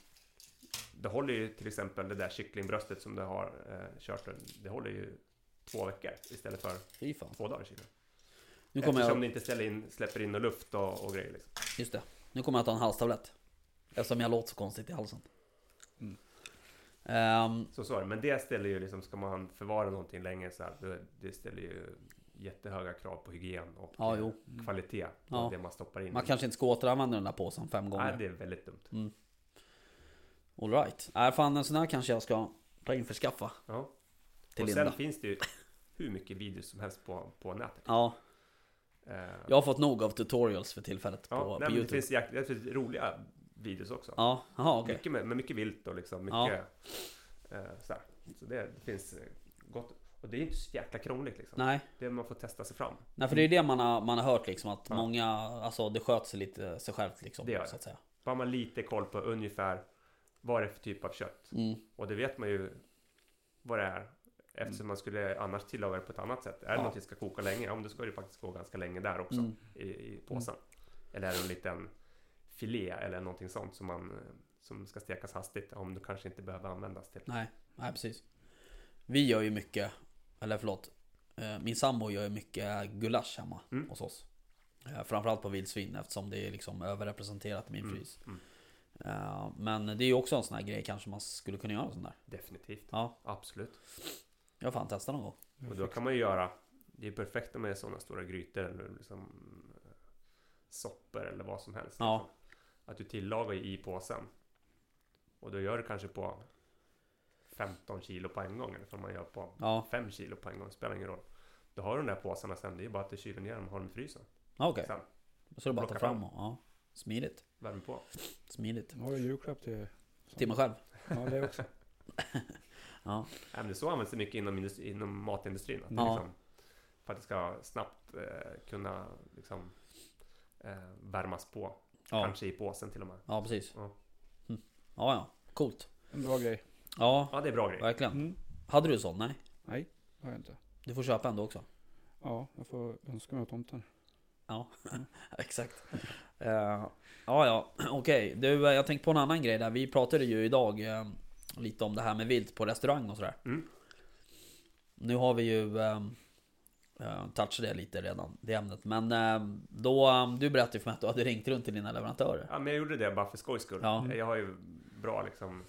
Det håller ju till exempel det där kycklingbröstet som du har eh, kört. Det håller ju två veckor istället för Fy fan två dagar i kylen. Nu kommer Eftersom jag, det inte ställer in, släpper in någon luft och, och grejer. Liksom. just det Nu kommer jag att ta en halstablett Eftersom jag låter så konstigt i halsen Mm. Ehm, Så så är det. Men det ställer ju liksom, ska man förvara någonting länge så här, då- det ställer ju jättehöga krav på hygien och Ja, eh, jo. Mm. kvalitet på Ja. det man stoppar in. Man i. kanske inte ska återanvända den där påsen fem Nej, gånger det är väldigt dumt. Alright, äh, fan en sån här kanske jag ska ta in förskaffa Ja. till och Linda sen finns det ju hur mycket videos som helst på, på nätet. Ja, Eh, jag har fått nog av tutorials för tillfället ja, på, nej, på men det, Youtube finns, jäk- det finns roliga videos också. Ja, jaha okej Mycket med, med mycket vilt och liksom Ja. mycket eh, så, här. så det, det finns eh, gott. Och det är inte så jäkla krångligt liksom. Nej Det man får testa sig fram. Nej för det är det man har, man har hört liksom att Ja. många, alltså det sköter sig lite sig självt liksom. Det gör det. Så att säga. Bara man lite koll på ungefär vad det är för typ av kött. Mm. Och det vet man ju vad det är. Eftersom man skulle annars tillaga det på ett annat sätt. Är det Mm. Ja. någonting som ska koka länge, ja men då ska det faktiskt gå ganska länge där också. Mm. I, i påsen. Eller är det en liten filé eller någonting sånt som, man, eh, som ska stekas hastigt om du kanske inte behöver användas till. Nej, nej precis. Vi gör ju mycket, eller förlåt, eh, min sambo gör ju mycket gulasch hemma Mm. hos oss. Eh, Framförallt på vildsvin eftersom det är liksom överrepresenterat i min Mm, frys. mm. Eh, Men det är ju också en sån här grej kanske man skulle kunna göra en sån där. Definitivt. Ja, Absolut. jag har fan testat någon gång. Och då kan man ju göra, det är perfekt med sådana stora grytor eller liksom eh, soppor eller vad som helst. Ja. Liksom. Att du tillagar i påsen. Och då gör du kanske på 15 kilo på en gång, eller som man gör på Ja, 5 kilo på en gång, spelar ingen roll. Då har du de där påsarna sen, det är ju bara att du kyler ner dem och har dem i frysen. ja, okej. Sen, Så är det bara att ta plocka fram fram. och, ja. Smidigt, värmer på. smidigt. Har du julklapp till... Till mig själv. Ja, det också. Även det så används det mycket inom, industri, inom matindustrin. Att det Ja. liksom, för att det ska snabbt eh, kunna liksom, eh, värmas på. Ja, Kanske i påsen till och med. ja precis. Ja. Mm. Ja, ja. Coolt. En bra grej. Ja, Ja, det är bra grej. verkligen. Mm. Hade du sån? Nej. Nej, det har jag inte. Du får köpa en då också. Ja, jag får önska mig av tomten. Exakt. Eh, ja, ja, okej. Du, eh, jag tänkte på en annan grej där. Vi pratade ju idag eh, lite om det här med vilt på restaurang och sådär. Mm. Nu har vi ju eh, eh, touchat det lite redan, det ämnet. Men eh, då, eh, du berättade ju för mig att du hade ringt runt till dina leverantörer. Ja, men jag gjorde det bara för skojs skull. Eh, Ja. Jag har ju bra liksom...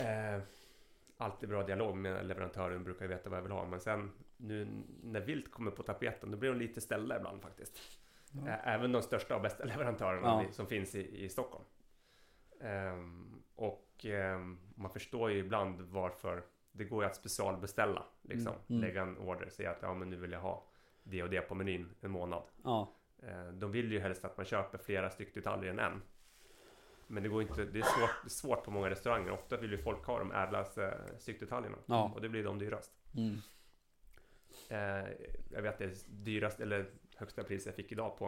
Eh, alltid bra dialog med leverantören, brukar ju veta vad jag vill ha. Men sen nu när vilt kommer på tapeten, då blir de lite ställda ibland faktiskt. Ja. Ä- Även de största och bästa leverantörerna Ja. i- som finns i, i Stockholm. Ehm, och ehm, man förstår ju ibland varför det går ju att specialbeställa. Liksom. Mm. Mm. Lägga en order, säga att ja, men nu vill jag ha det och det på menyn en månad. Ja, Eh, De vill ju helst att man köper flera styck detaljer än en. Men det går inte, det är svårt, det är svårt på många restauranger. Ofta vill ju folk ha de eh, ädlaste styckdetaljerna. Ja. Och det blir de dyrast. mm. Eh, jag vet det dyraste, eller högsta pris jag fick idag på,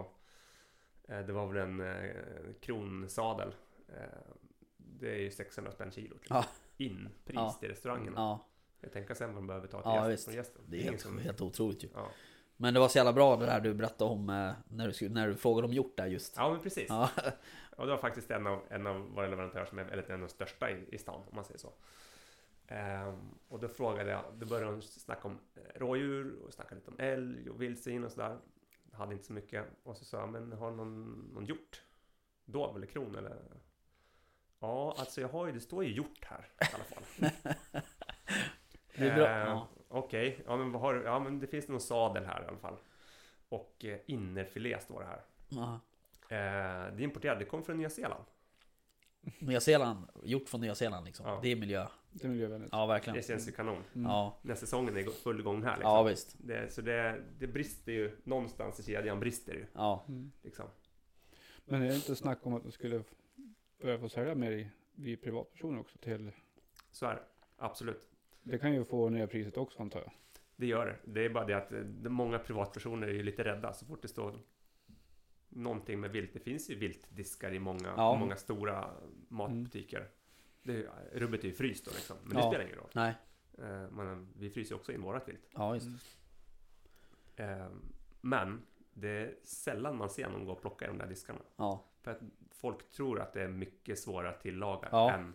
eh, det var väl en eh, kronsadel. Eh, det är ju 600 spänn kilot. liksom. Ja. Inpris Ja. Mm, till restaurangerna. ja Jag tänker sen vad de behöver ta till Ja, gästen, visst. från gästen. det är ingen helt, som- helt otroligt ju. ja. Men det var så jävla bra det där du berättade om eh, när, du, skulle- när du frågade om hjort där just. ja, men precis. Ja, Och det var faktiskt en av, en av våra leverantörer som är eller en av de största i, i stan, om man säger så. Ehm, och då frågade jag, då började de snacka om eh, rådjur och snacka lite om älg och vildsvin och sådär. Jag Hade inte så mycket. Och så sa jag, men har du någon, någon hjort? Dov eller kron eller? Ja, alltså jag har ju, det står ju hjort här i alla fall. det är bra. Eh, Ja. Okej, ja men vad har du? Ja men det finns någon sadel här i alla fall. Och eh, innerfilé står det här. Ja. Eh, det är importerat, det kom från Nya Zeeland. Nya Zeeland, gjort från Nya Zeeland liksom. Ja. Det är miljö. Det är miljövänligt. Ja, verkligen. Det känns ju kanon. Mm. Ja, När säsongen är i full gång här liksom. ja visst. det, Så det, det brister ju, någonstans i kedjan brister det ju Ja. Mm. liksom. Men är det inte snack om att du skulle f- börja få sälja mer i, vi privatpersoner också till... Så är det, absolut. Det kan ju få ner priset också antar jag. Det gör det. Det är bara det att eh, det- många privatpersoner är ju lite rädda så fort det står någonting med vilt. Det finns ju viltdiskar i många, Ja. Mm. många stora matbutiker. Det är, ju- eh, rubbet är ju fryst då liksom, men det Ja. spelar ingen roll. Nej, Eh, Man, vi fryser ju också in vårat vilt. ja visst. Eh, Men det är sällan man ser någon gå och plocka i de där diskarna. Ja, För att folk tror att det är mycket svårare att tillaga Ja. än...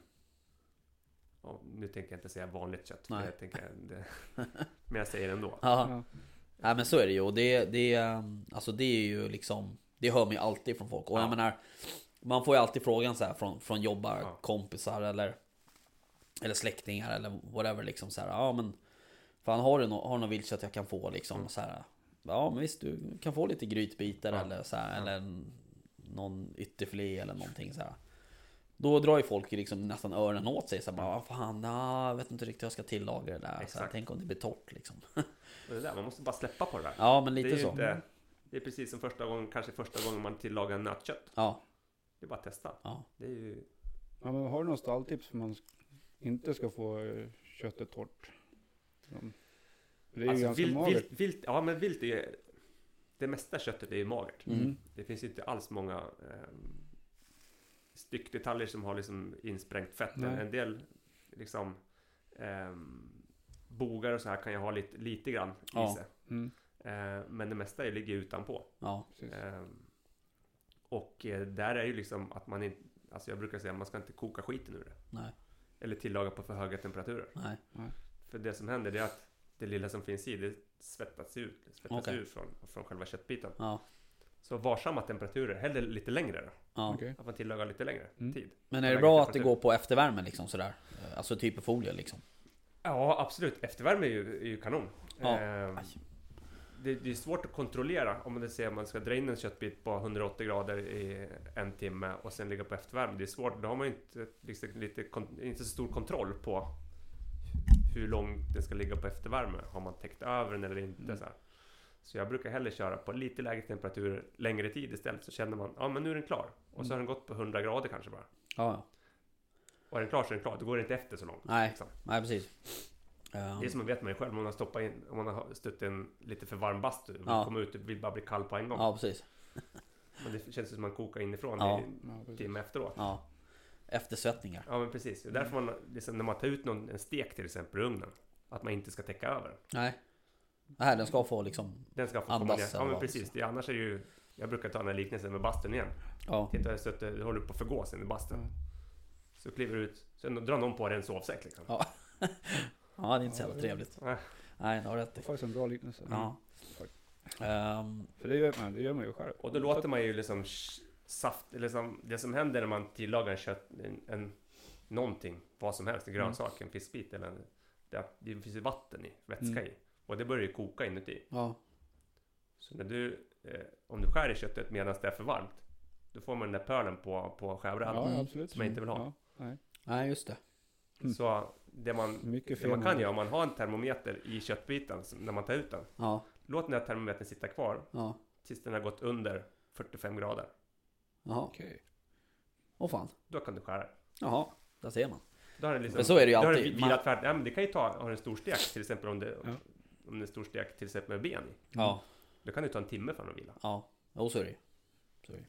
Ja, nu tänker jag inte säga vanligt kött, för Nej. jag tänker, det, men jag säger det ändå. ja. Nej men så är det ju och det, det, ehm, alltså det är ju liksom Det hör man ju alltid från folk och jag Ja. menar Man får ju alltid frågan så här från, från jobbar, Ja. kompisar eller Eller släktingar eller whatever liksom så här, ja men Fan har du nå- har du något viltkött jag kan få liksom Mm. så här, Ja men visst du kan få lite grytbitar Ja. eller så här, Ja. eller en- Någon ytterfilé eller någonting så här. Då drar ju folk ju liksom nästan öronen åt sig så här, bara, "Vad fan, nah, jag vet inte riktigt hur jag ska tillaga det där. Så här, Exakt. tänk om det blir torrt liksom. Och det där, man måste bara släppa på det där. Ja men det, är lite ju så. Inte, det är precis som första gången, kanske första gången man tillagar nötkött. Ja, Det är bara att testa. ja. Det är ju, Ja, men har du någon stalltips för man sk- inte ska få eh, köttet torrt? Som- Det är Alltså, ju ganska alltså, vilt, magert. vilt, vilt, ja, men vilt är ju... Det mesta köttet är ju magert. Mm. Det finns ju inte alls många ehm, styckdetaljer som har liksom insprängt fett. Men Nej. en del liksom ehm, bogar och så här kan jag ha lite, lite grann Ja. i sig. Mm, Eh, men det mesta ligger ju utanpå. Ja, precis. Ehm, Och eh, där är ju liksom att man inte... Alltså jag brukar säga att man ska inte koka skiten ur det. Nej. Eller tillaga på för höga temperaturer. Nej. För det som händer det är att det lilla som finns i det svettas ut. Det svettas Okej. ur från, från själva köttbiten. Ja. Så varsamma temperaturer, hellre lite längre då. ja. Okej. Att man tillagar lite längre Mm. tid. Men är det Lägre bra att det temperatur. går på eftervärme liksom sådär? Eh, Alltså typ i folie liksom? Ja, absolut. Eftervärme är ju, är ju kanon. Ja. Ehm, Aj. det, det är svårt att kontrollera om man säger att man ska dra in en köttbit på 180 grader i en timme och sen ligga på eftervärme. Det är svårt. Då har man ju inte, liksom, lite, kon- inte så stor kontroll på hur långt den ska ligga på eftervärme. Har man täckt över den eller inte? Mm. Så, här. så jag brukar hellre köra på lite lägre temperaturer längre tid istället. Så känner man, ja men nu är den klar. Och Mm. så har den gått på 100 grader kanske bara. Ja, ja. Och är den klar så är den klar. Då går det inte efter så långt. Nej. Liksom. Nej, precis. Eh, Det är som man vet man ju själv, om man har stoppat in, om man har stött en lite för varm bastu, man Ja. kommer ut och vill bara bli kall på en gång. Ja, precis. Men det känns ju som man kokar inifrån Ja. i Ja, en precis. timme efteråt. Ja. Eftersvettningar. Ja men precis, det är därför man, liksom, när man tar ut någon, en stek till exempel ur ugnen, att man inte ska täcka över den. Nej. Nej, den ska få liksom... Den ska få komma Andas ner. eller Ja men vad? precis, det, annars är det ju, jag brukar ta den här liknelsen med bastun igen. Ja. Titta, så att du håller på att förgås in i bastun. Ja. Så kliver du ut, sen drar någon på dig en sovsäck liksom. Ja. Ja, det är inte så jävla trevligt. Nej. Mm. Nej, det har rätt Det är i. faktiskt en bra liknelse. Ja. Tack. Ehm, För det gör man, det gör man ju själv. Och då låter man ju liksom sh- saft, eller som, det som händer när man tillagar en kött, en, en, någonting, vad som helst, en Mm. grönsak, en fiskbit eller en, det, är att det finns ju vatten i, vätska Mm. i. Och det börjar ju koka inuti. ja. Så när du, eh, om du skär i köttet medan det är för varmt, då får man den där pölen på, på skärbrädan. Ja, Mm. absolut. Som jag inte vill ha. Ja, nej. Nej, just det. Mm. Så det man, Mycket det fel. man kan göra, om man har en termometer i köttbiten som- när man tar ut den, Ja. låt den här termometern sitta kvar Ja. tills den har gått under 45 grader. Jaha. Okej. Åh fan. Då kan du skära. Jaha. Där ser man. Då har den liksom, Men så är det ju då har den alltid. vilat färdigt. Ja, men det kan ju ta, har du en stor stek till exempel om det, Ja. om det är en stor stek till exempel med ben i. Ja. Då kan det ta en timme för den att vila. Ja. Jo, så är det ju. Så är det ju.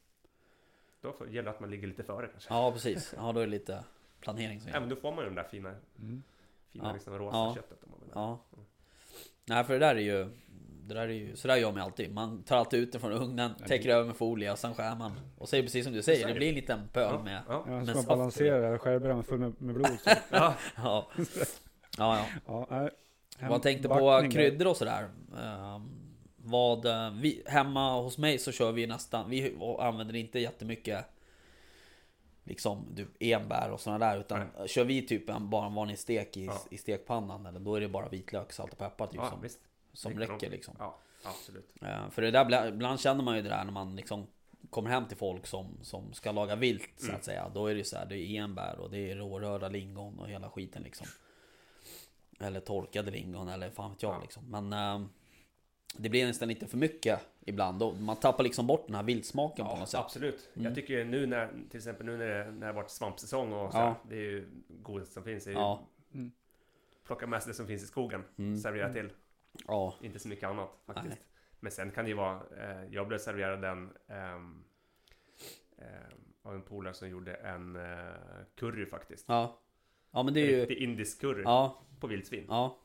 Då får, gäller det att man ligger lite före kanske. Ja, precis. Ja, då är det lite planering som Ja, gäller. men då får man ju de där fina, Mm. fina Ja. liksom rosa Ja. köttet om man vill. Ja. Nej, för det där är ju... Det där är ju, så där gör man alltid. Man tar alltid ut den från ugnen, Ja, täcker det- över med folie och sen skär man. Och så är det precis som du säger, det säger. blir en liten pöl med... Ja. Ja, Men så man saft- balanserar skärbrädan full med, med blod. Så. Ja. Ja. Ja, Ja, nej. ja. Hem- Vad tänkte på backningar. kryddor och sådär. Ehm, vad... eh, Vi, hemma hos mig så kör vi nästan... Vi använder inte jättemycket... Liksom du, enbär och sådana där. Utan kör vi typ en, bara en vanlig stek i, Ja. i stekpannan. Eller då är det bara vitlök, salt och peppar typ ja, som, visst. som det kan räcker de- liksom. Ja, absolut. Eh, För det där, bla- ibland känner man ju det där när man liksom kommer hem till folk som, som ska laga vilt så att Mm. säga. Då är det ju så här, det är enbär och det är rårörda lingon och hela skiten liksom. Eller torkade lingon eller fan vet jag Ja. liksom. Men eh, det blir nästan lite för mycket ibland. Och man tappar liksom bort den här viltsmaken på Ja, något sätt. absolut. Mm. Jag tycker ju nu när, till exempel nu när det, när det har varit svampsäsong och så Ja. här, det är ju godast som finns. Är ju, Ja. Mm. Plocka med sig det som finns i skogen, Mm. servera till. Ja, Inte så mycket annat faktiskt. Nej. Men sen kan det ju vara, eh, jag blev serverad den ehm, ehm, av en polare som gjorde en eh, curry faktiskt. ja. ja men det Det är är ju... Riktig indisk curry Ja, på vildsvin. ja.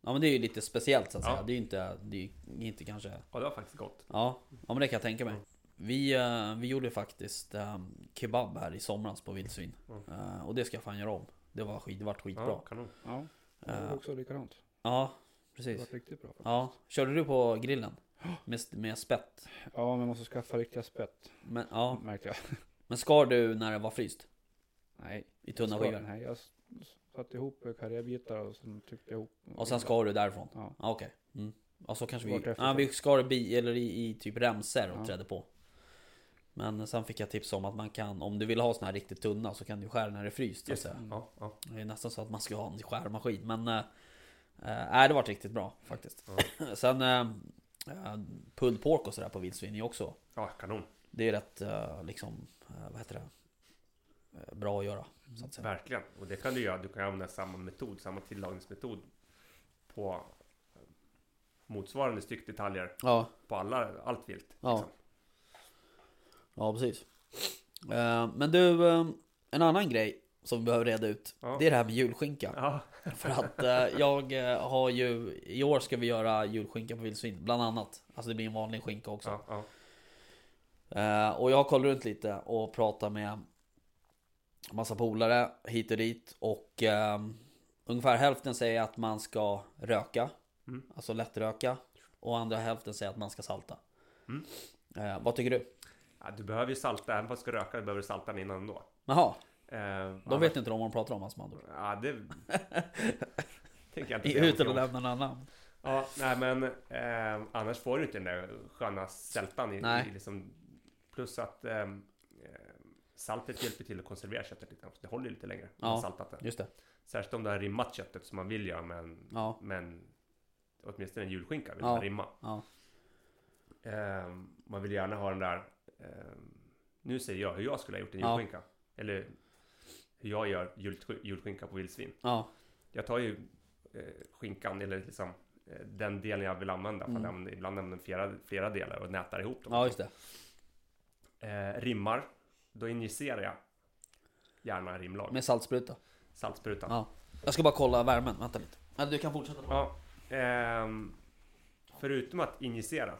Ja men det är ju lite speciellt så att Ja. säga. Det är ju inte, det är ju inte kanske Ja, det var faktiskt gott. Ja, ja men det kan jag tänka mig. Mm. Vi, eh, vi gjorde faktiskt eh, kebab här i somras på vildsvin. Mm. Eh, och det ska jag fan göra om. Det var skit, det vart Ja, skitbra. kanon. Ja, det Ja, var också likadant. ja Det precis. var riktigt bra. Ja, körde du på grillen? Med, med spett? Ja, men man måste skaffa riktiga spett. Men, ja. Märkte jag. men skar du när det var fryst? Nej. I tunna skar- skivor? Nej, jag s- s- satte ihop karrébitar och sen tryckte jag ihop. Och sen skar du därifrån? Ja. Ja, okej. Mm. Ja, så kanske vi... Vart efter Ja, så. vi skar bi, eller i, i typ remsor och Ja. trädde på. Men sen fick jag tips om att man kan, om du vill ha såna här riktigt tunna så kan du skära när det är fryst. Så att Just säga. Mm, det. Ja, ja. Det är nästan så att man ska ha en skärmaskin men... eh, Eh, nej, det varit riktigt bra faktiskt. Sen... Eh, eh, pulled pork och sådär på vildsvin är ju också... ja, kanon. Det är rätt eh, liksom... Eh, vad heter det? Eh, bra att göra. Så att säga. Verkligen. Och det kan du göra. Du kan använda samma metod, samma tillagningsmetod på eh, motsvarande styckdetaljer Ja, på alla, allt vilt. Ja. liksom. ja precis. Eh, men du, eh, en annan grej som vi behöver reda ut. Ja. Det är det här med julskinka. Ja, För att eh, jag eh, har ju... I år ska vi göra julskinka på vildsvin, bland annat. Alltså det blir en vanlig skinka också. ja, ja. Eh, och jag har kollat runt lite och pratat med massa polare hit och dit. Och ehm, ungefär hälften säger att man ska röka. Mm. Alltså lättröka. Och andra hälften säger att man ska salta. Mm. Eh, vad tycker du? Ja, du behöver ju salta, även fast du ska röka, du behöver salta den innan då. Jaha, Eh, de annars- vet inte om vad de pratar om alltså med andra ord. Ja, det... tänker jag inte säga Utan att någonting om. lämna några namn. Ja, nej men eh, annars får du inte den där sköna sältan i, Nej. i liksom, Plus att eh, eh, saltet hjälper till att konservera köttet lite. Det håller ju lite längre. om Ja. man saltat det. Just det. Särskilt om du har rimmat köttet som man vill göra med en, Ja. med en åtminstone en julskinka vill Ja. man rimma. Ja. Eh, man vill gärna ha den där... Eh, nu säger jag hur jag skulle ha gjort en Ja. julskinka. Eller hur jag gör jul, julskinka på vildsvin. Ja. Jag tar ju eh, skinkan, eller liksom eh, den delen jag vill använda. För Mm. jag använder, ibland använder jag flera, flera delar och nätar ihop dem. ja, just det. eh, rimmar, då injicerar jag gärna rimlag. Med saltspruta. Saltsprutan. Ja. Jag ska bara kolla värmen, vänta lite. Men du kan fortsätta. Ja, ehm, förutom att injicera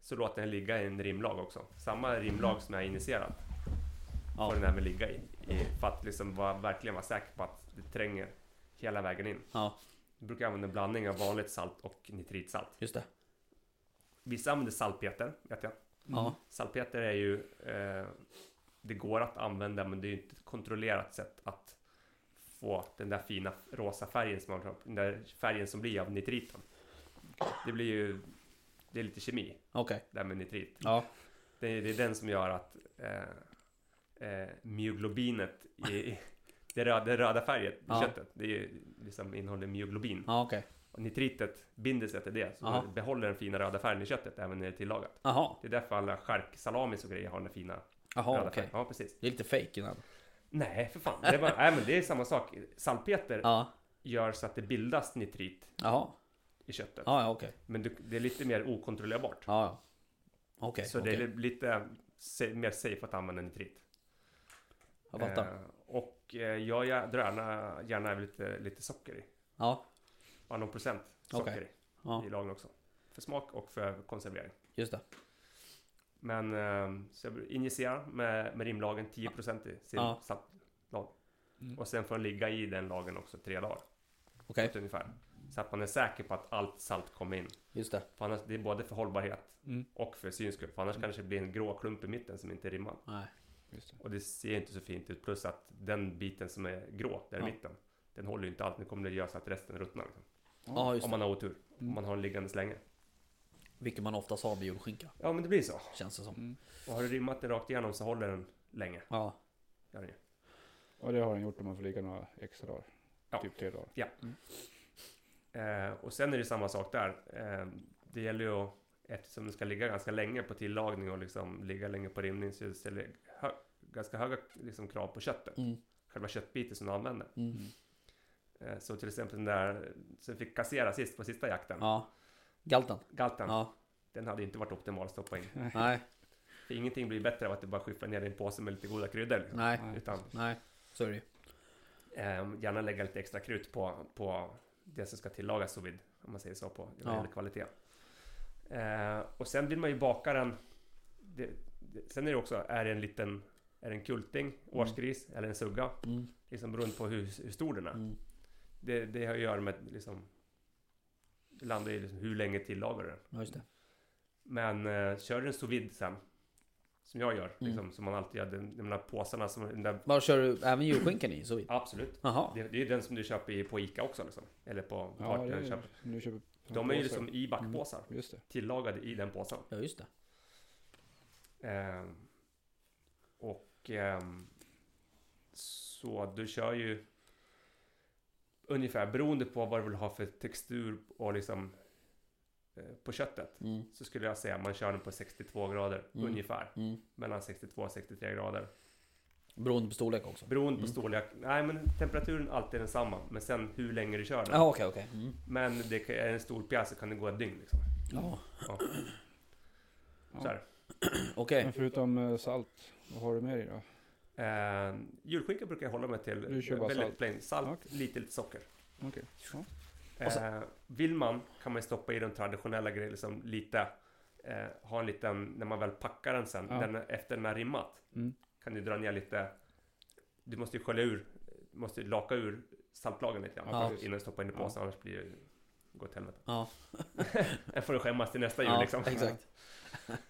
så låter den ligga i en rimlag också. Samma rimlag som jag injicerat Ja. får den även ligga i. i för att liksom vara, verkligen vara säker på att det tränger hela vägen in. Ja, Jag brukar använda en blandning av vanligt salt och nitritsalt. just det. Vissa använder salpeter, vet jag. Ja, Salpeter är ju... Eh, det går att använda, men det är ju inte ett kontrollerat sätt att få den där fina rosa färgen som man pratar om, Den där färgen som blir av nitriten. Det blir ju... Det är lite kemi, okej. det här med nitrit. Ja, Det är, det är den som gör att eh, eh, myoglobinet i... Det röda, det röda färgen i Ja. köttet, det är ju liksom innehåller myoglobin. ja okej. Och nitritet binder sig till det, så Ja. det behåller den fina röda färgen i köttet även när det är tillagat. Jaha, Det är därför alla charksalamis och grejer har den där fina jaha röda okej. färgen. Ja, precis. Det är lite fake innan. Nej, för fan. Det är, bara, nej, men det är samma sak. Salpeter Ja, gör så att det bildas nitrit jaha. i köttet. Ja, ja okej. Men du, det är lite mer okontrollerbart. Ja, ja. Okej, så okej. det är lite eh, sa- mer safe att använda nitrit. Jag fattar. Eh, och eh, jag, jag drar gärna, gärna över lite, lite socker i. Ja, Ja, någon procent socker Okej. ja, i. I lagen också. För smak och för konservering. just det. Men eh, så jag injicerar med, med rimlagen 10% i sin Ja. saltlag. Mm. Och sen får den ligga i den lagen också tre dagar. Typ Okej, ungefär. Så att man är säker på att allt salt kommer in. just det. För annars, det är både för hållbarhet Mm. och för syns skull. För Mm. annars kanske det blir en grå klump i mitten som inte rimmar. Nej. Just det. Och det ser inte så fint ut. Plus att den biten som är grå, där Ja. i mitten, den håller ju inte allt. Nu kommer det göra så att resten ruttnar. Liksom. Ja, just Om det. man har otur. Mm. Om man har en liggandes länge. Vilket man oftast har med julskinka, Ja, men det blir så. känns det som. Mm. Och har du rimmat den rakt igenom så håller den länge. Ja, Gör den ju. Och det har den gjort om man får ligga några extra dagar. Ja. Typ tre dagar. Eh, och sen är det samma sak där. Eh, det gäller ju att, eftersom det ska ligga ganska länge på tillagning och liksom ligga länge på rimning så ställer det hö ganska höga liksom, krav på köttet. Mm. Själva köttbiten som du använder. Mm. Eh, så till exempel den där som fick kassera sist på sista jakten, ja. Galten. galten, Ja, den hade inte varit optimal att stoppa in. nej, För ingenting blir bättre av att du bara skyfflar ner din påse med lite goda kryddor. Liksom. nej, Utan nej. Så är det ju. eh, gärna lägga lite extra krut på, på det som ska tillagas så vid, om man säger så, på Ja. ja. gäller kvalitet. Eh, och sen vill man ju baka den. Det, det, sen är det också, är det en liten, är det en kulting, årsgris eller en sugga? Mm. Liksom beroende på hur, hur stor den är. Mm. Det, det har att göra med liksom, det landar i liksom, hur länge tillagar du den? Ja, just det. Men eh, kör du en sous vide sen, som jag gör, Mm. liksom, som man alltid gör, de, de där påsarna som, den där, Vad kör du även julskinkan i? Så vitt? absolut. Jaha, Det, det är ju den som du köper i- på Ica också liksom. Eller på Ja, vart det du är, Mm. köper. nu köper De är ju liksom i backpåsar. Just det. Tillagade i den påsen. ja just det. Ehm, och ehm, så du kör ju ungefär beroende på vad du vill ha för textur och liksom eh, på köttet. Mm. Så skulle jag säga man kör den på 62 grader Mm. ungefär. Mm. Mellan 62 och 63 grader. Beroende på storlek också. Beroende på Mm. storlek. Nej men temperaturen alltid densamma. Men sen hur länge du kör den. Jaha, okej, okej. Mm. Men det kan, är det en stor pjäs så kan det gå ett dygn liksom. Ja, Ja. Så här. okej. Men förutom eh, salt, vad har du med dig då? Eh, julskinka brukar jag hålla mig till. Du kör bara väldigt salt. plain. Salt, Okej. lite, lite socker. Okej. Ja. Och så- Eh, vill man kan man ju stoppa i de traditionella grejerna, liksom lite eh, ha en liten, när man väl packar den sen, Ja. den, efter den har rimmat, Mm. kan du dra ner lite, du måste ju skölja ur, du måste ju laka ur saltlagen lite grann Ja, först precis. innan du stoppar in i Ja. påsen, annars blir det ju, går till helvete. Ja, Här får du skämmas till nästa jul ja liksom. exakt.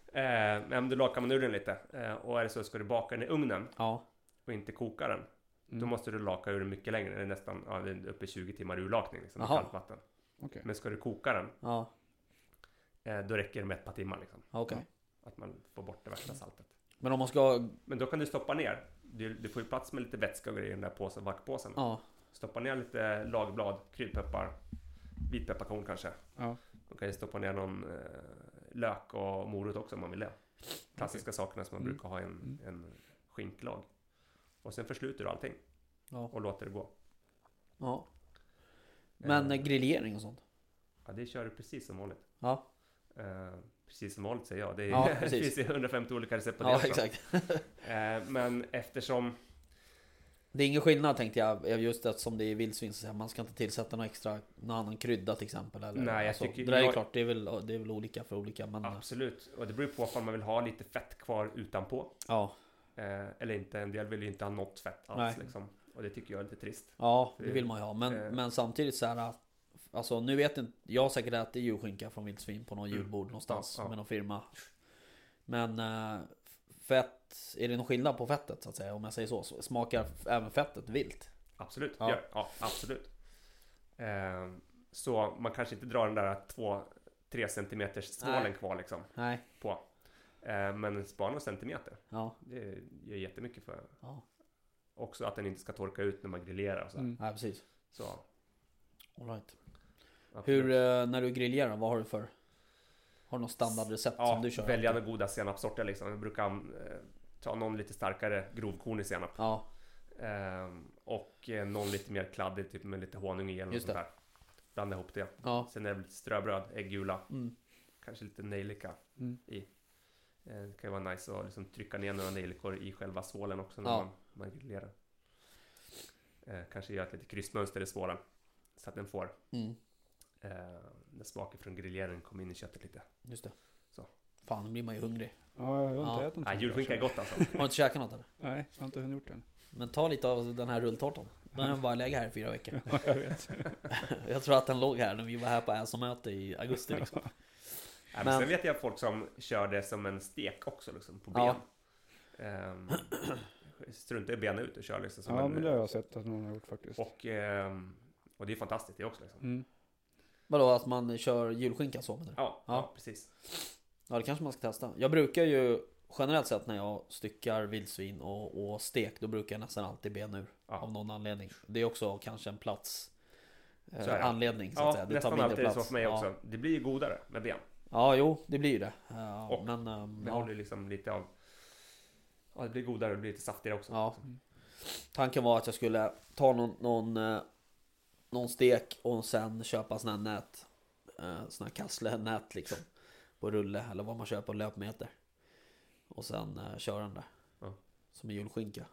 Eh, men om du lakar man ur den lite, eh, och är det så ska du baka den i ugnen Ja, och inte koka den, då Mm. måste du laka ur den mycket längre, det är nästan ja, det är uppe i 20 timmar urlakning liksom, i Jaha. kallt vatten. Okej. Men ska du koka den, ja, eh, då räcker det med ett par timmar liksom. okej. Att man får bort det värsta saltet. Men om man ska... Men då kan du stoppa ner. Du, du får ju plats med lite vätska och grejer i den där påsen, vaktpåsen. Ja, Stoppa ner lite lagblad, kryddpeppar, vitpepparkorn kanske. Ja. Man kan ju stoppa ner någon eh, lök och morot också om man vill det. Klassiska sakerna som man Mm. brukar ha i en, en skinklag. Och sen försluter du allting ja, och låter det gå. ja. Men Eh, eh, grillering och sånt? ja, det kör du precis som vanligt. Ja, Eh, precis som vanligt säger jag. Det, är, Ja, det precis. finns ju 150 olika recept på det ja också. exakt. Eh, men eftersom Det är ingen skillnad tänkte jag, just att som det är vildsvin så säger man ska inte tillsätta någon extra, någon annan krydda till exempel eller? alltså, Nej, jag tycker- Det där är jag- klart, det är, väl, det är väl olika för olika men... Ja, Absolut, och det beror ju på om man vill ha lite fett kvar utanpå. ja, Eh, eller inte, en del vill ju inte ha något fett alls Nej. liksom. Och det tycker jag är lite trist. det vill man ju ha men, Eh. men samtidigt så här Alltså nu vet inte, jag har säkert ätit julskinka från vildsvin på någon Mm. julbord någonstans Ja, ja. med någon firma Men eh, fett, är det någon skillnad på fettet så att säga? Om jag säger så, så smakar även fettet vilt? Absolut, Ja. ja, ja absolut. Eh, så man kanske inte drar den där 2-3 centimeters Nej. snålen kvar liksom. Nej, Eh, men spara några centimeter. ja, Det gör jättemycket för. ja, Också att den inte ska torka ut när man grillerar och så. här. Mm. nej precis så All right. absolut. Hur, eh, när du grillerar, vad har du för? Har du något standardrecept ja, som du kör? välja några goda senapssorter liksom. Jag brukar eh, ta någon lite starkare grovkornig senap. Ja, Ehm, och eh, någon lite mer kladdig, typ med lite honung i eller något Just sånt där. Blanda ihop det. ja. Sen är det lite ströbröd, äggula, Mm. kanske lite nejlika. Mm. Eh, det kan ju vara nice att liksom trycka ner några nejlikor i själva svålen också när Ja. man, man grillerar. Eh, kanske göra ett litet kryssmönster i svålen. Så att den får, Mm. eh, när smaken från grilleringen kommer in i köttet lite. Just det. Så. Fan, nu blir man ju hungrig. Ja, jag har inte Ja. ätit någonting. Nej, julskinka är gott alltså. Har du inte käkat något eller? Nej, jag har inte hunnit gjort den. Men ta lite av den här rulltårtan. Den har bara legat här i fyra veckor. Ja, jag vet. Jag tror att den låg här när vi var här på Äsomöte i augusti liksom. Nej, Men- men sen vet jag folk som kör det som en stek också liksom, på ben. Ja. Ehm, struntar i benen ut och kör liksom som Ja, en... men det har jag sett att någon har gjort faktiskt. Och, ehm, och det är fantastiskt det också liksom. Mm. Vadå, att man kör julskinka så menar du? Ja, ja. Ja. precis. Ja, det kanske man ska testa. Jag brukar ju generellt sett när jag styckar vildsvin och, och stek, då brukar jag nästan alltid bena ur. Ja. Av någon anledning. Det är också kanske en plats Så är eh, det. anledning så att Ja, säga. Det nästan alltid är det så för mig ja. också. Det blir ju godare med ben. Ja, jo, det blir ju det. Eh, Och men, ehm, Behåller ja, ju liksom lite av... Ja, det blir godare och det blir lite saftigare också. ja. Tanken var att jag skulle ta någon, någon, eh, någon stek och sen köpa sån här nät. eh, Sån här kasslenät liksom. På rulle eller vad man köper på löpmeter. Och sen eh, köra den där. Ja. Som en julskinka.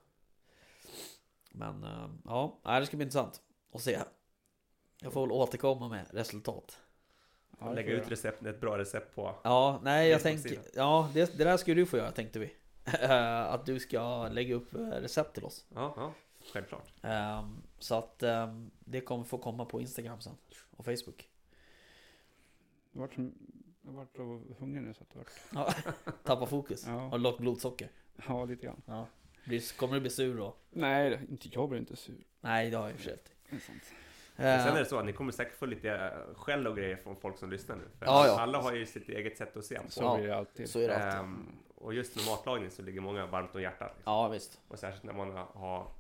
Men eh, ja, nej, det ska bli intressant att se. Jag får väl återkomma med resultat. Ja, det Lägga får jag ut recept, ett bra recept på... Ja, nej jag tänker... Facebook-sidan. Ja, det, det där ska du få göra tänkte vi. att du ska lägga upp eh, recept till oss. Ja, ja självklart. Ehm, så att ehm, det kommer få komma på Instagram sen. Och Facebook. Jag vart som, jag vart så hungrig nu så att det vart. Ja, tappa fokus. Ja, Har lågt blodsocker. ja lite grann. Blir, kommer du bli sur då? Nej, det- inte, jag blir inte sur. Nej, det har jag i och för sig inte. Det är sant. Men Ehm, sen är det så att ni kommer säkert få lite eh, skäll och grejer från folk som lyssnar nu. För Ja, ja. Alla har ju sitt eget sätt att se på. Så Ja, blir det alltid. Så är det alltid. Ehm, och just med matlagning så ligger många varmt om hjärtat. Liksom. Ja, visst. Och särskilt när man har, har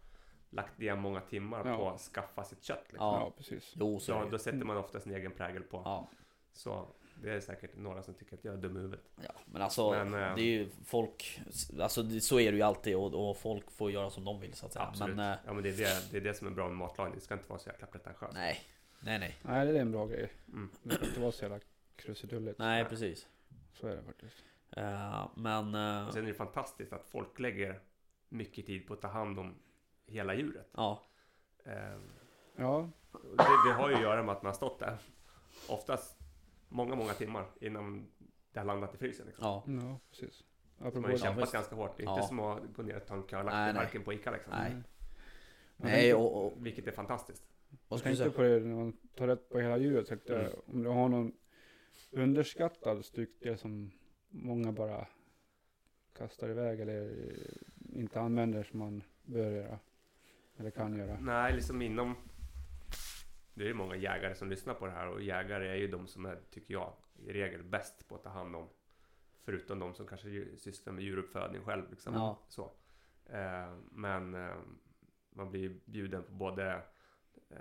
lagt ner många timmar Ja. på att skaffa sitt kött. Liksom. Ja, Ja. precis. Jo, så är Då, det då ju. sätter man ofta sin egen prägel på. Ja. Så det är säkert några som tycker att jag är dum i huvudet. Ja, men alltså Men, eh, det är ju folk, alltså det, så är det ju alltid och, och folk får göra som de vill så att säga. Absolut. Men eh, ja, men det, är det, det är det som är bra med matlagning. Det ska inte vara så jäkla pretentiöst. nej, nej, nej, Nej, det är en bra grej. Mm. Det ska inte vara så jävla krusidulligt. nej, precis. Så är det faktiskt. Eh, men eh, Och sen är det fantastiskt att folk lägger mycket tid på att ta hand om hela djuret. ja, Ehm, Ja, och det, det har ju att göra med att man har stått där. Oftast många, många timmar innan det har landat i frysen. Liksom. Ja. Ja, precis. Man Apropå har ju det. kämpat visst. ganska hårt. Det är inte Ja. som att gå ner och ta en Nej, curlack nej. i marken på Ica liksom. Nej. Jag Nej, tänkte- och, och Vilket är fantastiskt. vad Jag ska du tänkte säga? på det när man tar rätt på hela djuret. Tänkte jag, Mm. Om du har någon underskattad styckdel som många bara kastar iväg eller inte använder som man bör göra. Eller kan göra. Nej, liksom inom... Det är ju många jägare som lyssnar på det här och jägare är ju de som är, tycker jag, i regel bäst på att ta hand om. Förutom de som kanske ju- sysslar med djuruppfödning själv. Liksom. Ja. Så. Eh, men eh, man blir ju bjuden på både eh,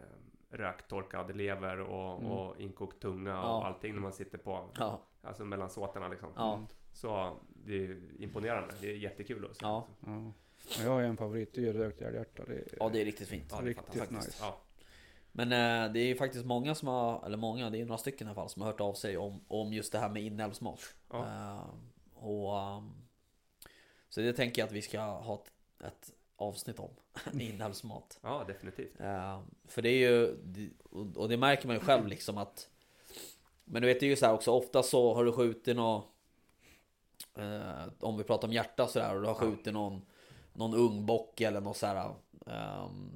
röktorkad lever och, Mm. och inkokt tunga och Ja. allting när man sitter på, Ja, alltså mellan såtarna liksom. ja, Så det är ju imponerande. Det är jättekul att se. liksom. Ja. Ja. Och jag har en favorit, det är ju rökt älghjärta. Det är- ja, det är riktigt fint. Ja, det är Riktigt fantastiskt. nice. Ja. Men eh, det är ju faktiskt många som har, eller många, det är några stycken i alla fall som har hört av sig om, om just det här med inälvsmat. Ja. Eh, och, ehm, så det tänker jag att vi ska ha ett, ett avsnitt om, inälvsmat. ja, definitivt. Eh, för det är ju, och- och det märker man ju själv liksom att Men du vet det är ju så här också, ofta så har du skjutit någon eh, Om vi pratar om hjärta sådär och du har Ja. skjutit någon Någon ungbock eller något sådär ehm,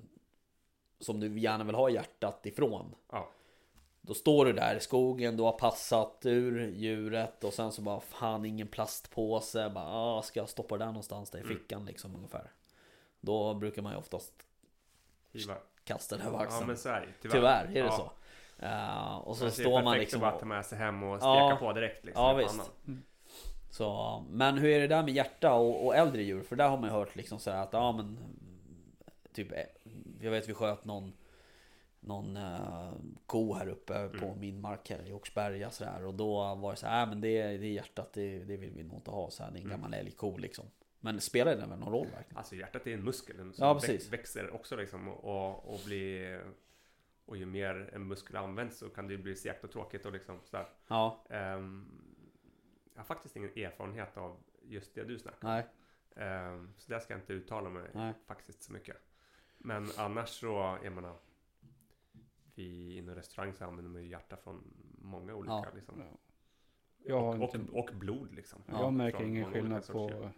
Som du gärna vill ha hjärtat ifrån Ja. Då står du där i skogen, du har passat ur djuret och sen så bara fan ingen plastpåse bara, ah, Ska jag stoppa det där någonstans där i Mm. fickan liksom ungefär Då brukar man ju oftast Hivar. kasta den över axeln Ja men så är det ju, tyvärr. liksom- Tyvärr är det Ja. så. Eh, och så Alltså, det är står man perfekt liksom... att bara ta med sig hem och steka Ja. på direkt liksom. Ja, i visst. pannan. Så, men hur är det där med hjärta och, och äldre djur? För där har man ju hört liksom så här att ja men Typ, eh, jag vet vi sköt någon Någon eh, ko här uppe Mm. på min mark här i Oxberga sådär Och då var det så här, "Äh, men det, det är hjärtat, det, det vill vi nog inte ha så här, Det är Mm. en gammal älgko liksom Men spelar det väl någon roll verkligen? Alltså hjärtat är en muskel den Ja, som väx- precis. växer också liksom och, och blir... Och ju mer en muskel används så kan det ju bli segt och tråkigt och liksom sådär. Ja, Ehm, jag har faktiskt ingen erfarenhet av just det du snackar nej, Ehm, Så där ska jag inte uttala mig Nej. faktiskt så mycket. Men annars så, jag menar. Vi inom restaurang så använder man ju hjärta från många olika Ja. liksom. Ja. Jag, har och, inte, och, och blod liksom. jag ja, märker från ingen många olika skillnad sorters på,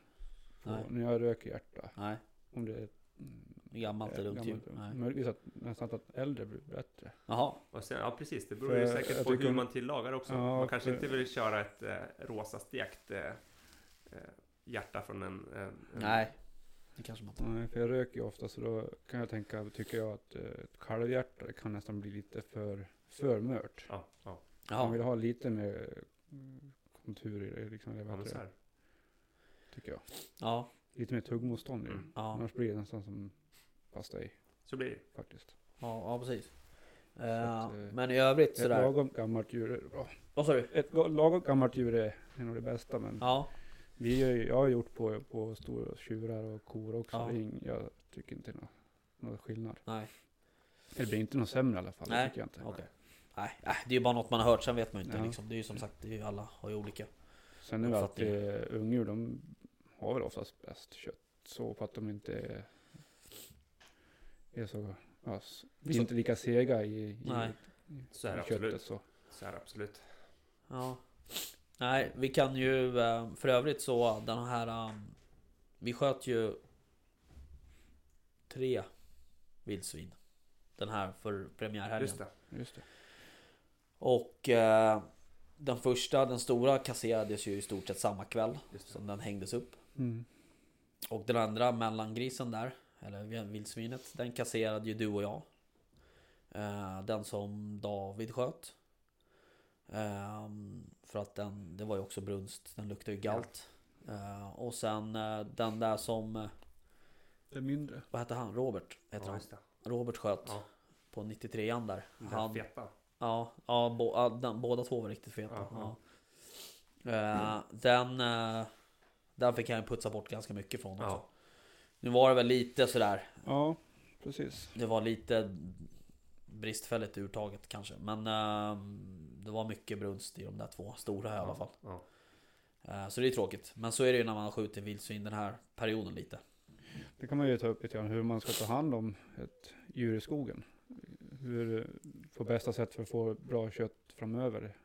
på Nej. när jag röker hjärta. nej Om det är mm, Gammalt Eh, eller ungt djur? gammalt. Nej. Möjligtvis att nästan att äldre blir bättre. Jaha, Och sen, ja precis, det beror ju För jag säkert på tycker hur om- man tillagar också. Ja, man kanske för- inte vill köra ett eh, rosa stekt eh, eh, hjärta från en... eh, en, en nej Det kanske man inte Nej, för jag röker ju ofta så då kan jag tänka, tycker jag att eh, ett kalvhjärta det kan nästan bli lite för, för mört. Ja, ja, Man vill Jaha, ha lite mer mm, kontur i det, liksom, eller ja, vad men så heter det, här. tycker jag. ja, Lite mer tuggmotstånd i det. Mm. ja Annars blir det nästan som pastej Så blir det. faktiskt. Ja, ja precis. att, Eh, eh, men i övrigt Ett sådär. lagom gammalt djur är bra. Vad sa du? Ett ga- lagom gammalt djur är är nog det bästa men Ja, vi har, ju- jag har gjort på, på stora tjurar och kor också. Ja. Det är ing- jag tycker inte det är nå- någon skillnad. nej, Det blir inte något sämre i alla fall, Nej, det tycker jag inte. okej. Nej, nej, det är ju bara något man har hört, sen vet man ju inte Ja. liksom. Det är ju som sagt, det är ju alla har ju olika. Sen är det Uppfattning. alltid eh, ungdjur, de har väl oftast bäst kött. Så för att de inte är- är så, ja, s- blir Så- inte lika sega i, i, Nej. Mm. Så är i det köttet. absolut. Så. Så är det absolut. Ja. Nej, vi kan ju eh, för övrigt så den här. eh, Vi sköt ju tre vildsvin. Den här för premiärhelgen. Just det. Just det. Och eh, den första, den stora kasserades ju i stort sett samma kväll Just det. som den hängdes upp. Mm. Och den andra mellangrisen där, eller vildsvinet, den kasserade ju du och jag. Eh, Den som David sköt. Eh, För att den, det var ju också brunst, den luktade ju galt. Eh, Och sen eh, den där som, eh, Det är mindre. vad hette han? Robert heter Ja, han. just det. Robert sköt Ja. på 93an där. Den Han- där feta. Ja, ja, bo, ja den, båda två var riktigt feta. Ja, Ja, ja. Eh, den, eh, den fick han ju putsa bort ganska mycket från också. Ja. Nu var det väl lite sådär Ja, precis. Det var lite bristfälligt ur taget kanske Men ehm, det var mycket brunst i de där två stora i alla fall Ja. Eh, Så det är tråkigt Men så är det ju när man skjuter vildsvin den här perioden lite Det kan man ju ta upp lite grann hur man ska ta hand om ett djur i skogen. Hur, eh, på bästa sätt för att få bra kött framöver.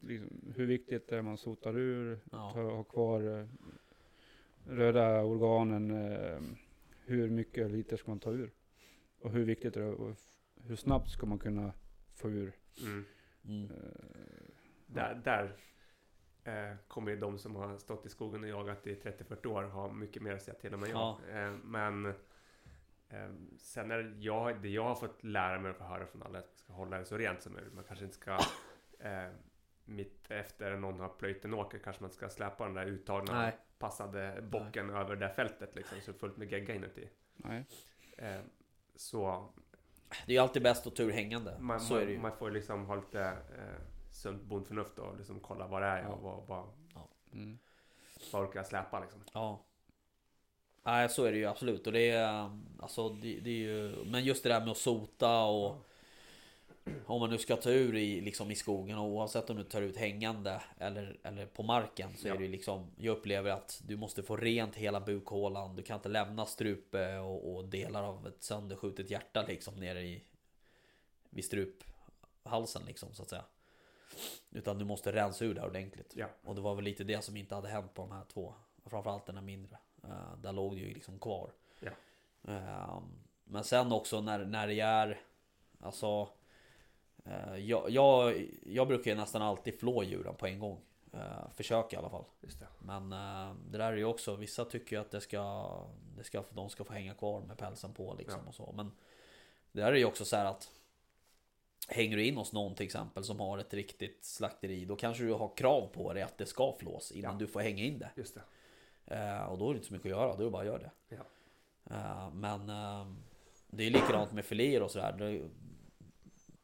liksom, hur viktigt det är man sotar ur, Ja. ta, ha kvar eh, röda organen, eh, hur mycket liter ska man ta ur? Och hur viktigt är det och f- hur snabbt ska man kunna få ur? Mm. Mm. Där, där eh, kommer ju de som har stått i skogen och jagat i 30-40 år ha mycket mer att säga till om än jag. Eh, men eh, sen är det jag, det jag har fått lära mig och få höra från alla är att man ska hålla det så rent som möjligt. Man kanske inte ska eh, mitt efter någon har plöjt en åker kanske man inte ska släpa den där uttagna Nej. passade bocken över det där fältet liksom så fullt med gegga inuti. Nej. Eh, så Det är ju alltid bäst att ha tur hängande. man, så är det ju. man, man får ju liksom ha lite eh, sunt bondförnuft och liksom kolla vad det är Ja. och vad, vad, Mm. vad orkar jag släpa liksom. Ja. Nej, så är det ju absolut. Och det är, um, alltså, det, det är ju, men just det där med att sota och om man nu ska ta ur i, liksom i skogen och oavsett om du tar ut hängande eller, eller på marken så Ja. är det ju liksom Jag upplever att du måste få rent hela bukhålan. Du kan inte lämna strupe och, och delar av ett sönderskjutet hjärta liksom nere i vid struphalsen liksom så att säga. Utan du måste rensa ur det här ordentligt. Ja. Och det var väl lite det som inte hade hänt på de här två. Och Framförallt den här mindre. Eh, där låg det ju liksom kvar. Ja. Eh, men sen också när, när det är Alltså eh, jag, jag, jag brukar ju nästan alltid flå djuren på en gång. Eh, försöka i alla fall. Just det. Men eh, det där är ju också, vissa tycker ju att det ska, det ska, de ska få hänga kvar med pälsen på liksom Ja. och så. Men det där är ju också så här att Hänger du in hos någon till exempel som har ett riktigt slakteri Då kanske du har krav på dig att det ska flås innan Ja. du får hänga in det. Just det. Eh, och då är det inte så mycket att göra, då är det bara att göra det. Ja. Eh, men eh, det är likadant med filéer och sådär. Det-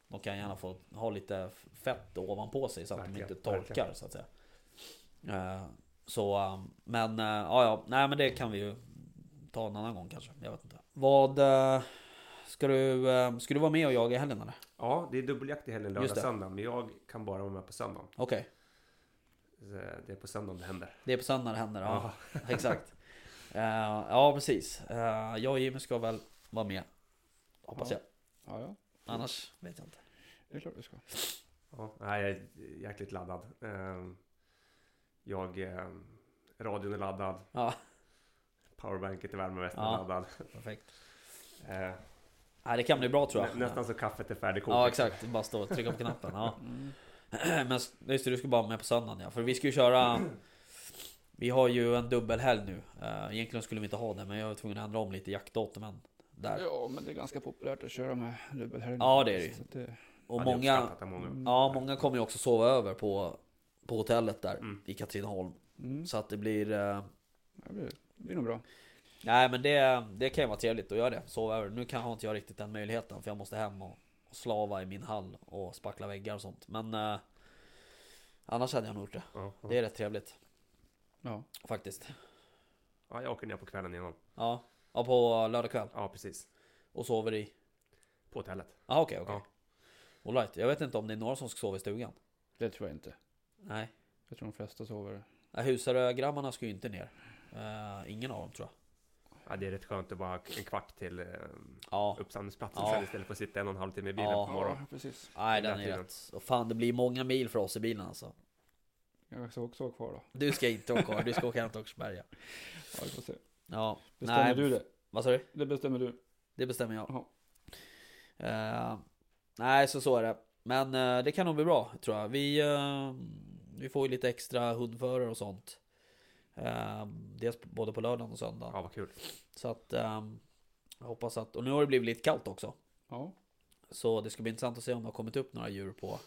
De kan gärna få ha lite fett ovanpå sig så att Verkligen, de inte torkar verkligen. så att säga. Eh, så, eh, men eh, ja, ja, nej men det kan vi ju ta en annan gång kanske. Jag vet inte. Vad eh, ska du, eh, ska du vara med och jaga i helgen eller? Ja, det är dubbeljakt i helgen lördag Just det. söndag. Men jag kan bara vara med på söndagen. Okej, Så Det är på söndagen det händer. det är på söndag det händer. Ja. Exakt. Eh, ja, precis. Eh, jag och Jimmy ska väl vara med. Hoppas Ja. jag. Ja, ja, Annars vet jag inte. det är klart du ska. Ja, nej, jag är jäkligt laddad. Eh, Jag... eh, Radion är laddad. Ja, Powerbanket i värmevästen Ja. är laddad. perfekt. Eh, Nej, det kan bli bra tror jag. nä- Nästan så kaffet är färdigkokt. Ja, exakt. Bara stå och trycka på knappen. Ja. Mm. Men s- just det, du ska bara med på söndagen ja. För vi ska ju köra... Vi har ju en dubbelhelg nu. Eh, Egentligen skulle vi inte ha det, men jag var tvungen att ändra om lite jaktdatumen. Där. Ja, men det är ganska populärt att köra med dubbelhelg. Ja, det är det ju. Så att det Och Ja, det är många... uppskattat av många. Ja, många kommer ju också sova över på, på hotellet där Mm. i Katrineholm. Mm, Så att det blir... eh, det blir, det blir nog bra. Nej men det, det kan ju vara trevligt att göra det. Sova över. Nu kan har inte jag riktigt den möjligheten för jag måste hem och, och slava i min hall och spackla väggar och sånt. Men eh, annars hade jag nog gjort det. Ja, Det ja. är rätt trevligt Ja, faktiskt. ja, jag åker ner på kvällen innan. Ja, ja på lördag kväll Ja, precis. och sover i... På hotellet. Ah, okej okej. All right. Jag vet inte om det är några som ska sova i stugan. det tror jag inte. Nej. Jag tror de flesta sover. Nej, Husarögrabbarna ska ju inte ner. Eh, ingen av dem tror jag. Ja, det är rätt skönt att bara ha en kvart till eh, Ja. uppsamlingsplatsen Ja. sen istället för att sitta en och en halv timme i bilen Ja. på morgonen. Ja, precis. Nej Den den där är tiden. rätt. Och fan det blir många mil för oss i bilen alltså. Jag ska också vara kvar då. Du ska inte åka kvar, du ska åka hem till Åkersberga. Ja, vi får se. Ja. Bestämmer Nej, du det? Vad sa du? Det bestämmer du. Det bestämmer jag. Jaha. Eh, nej, så så är det. Men eh, det kan nog bli bra, tror jag. Vi, eh, vi får ju lite extra hundförare och sånt. Eh, dels på- både på lördagen och söndagen. Ja, vad kul. Så att eh, jag hoppas att... Och nu har det blivit lite kallt också. Ja, Så det ska bli intressant att se om det har kommit upp några djur på,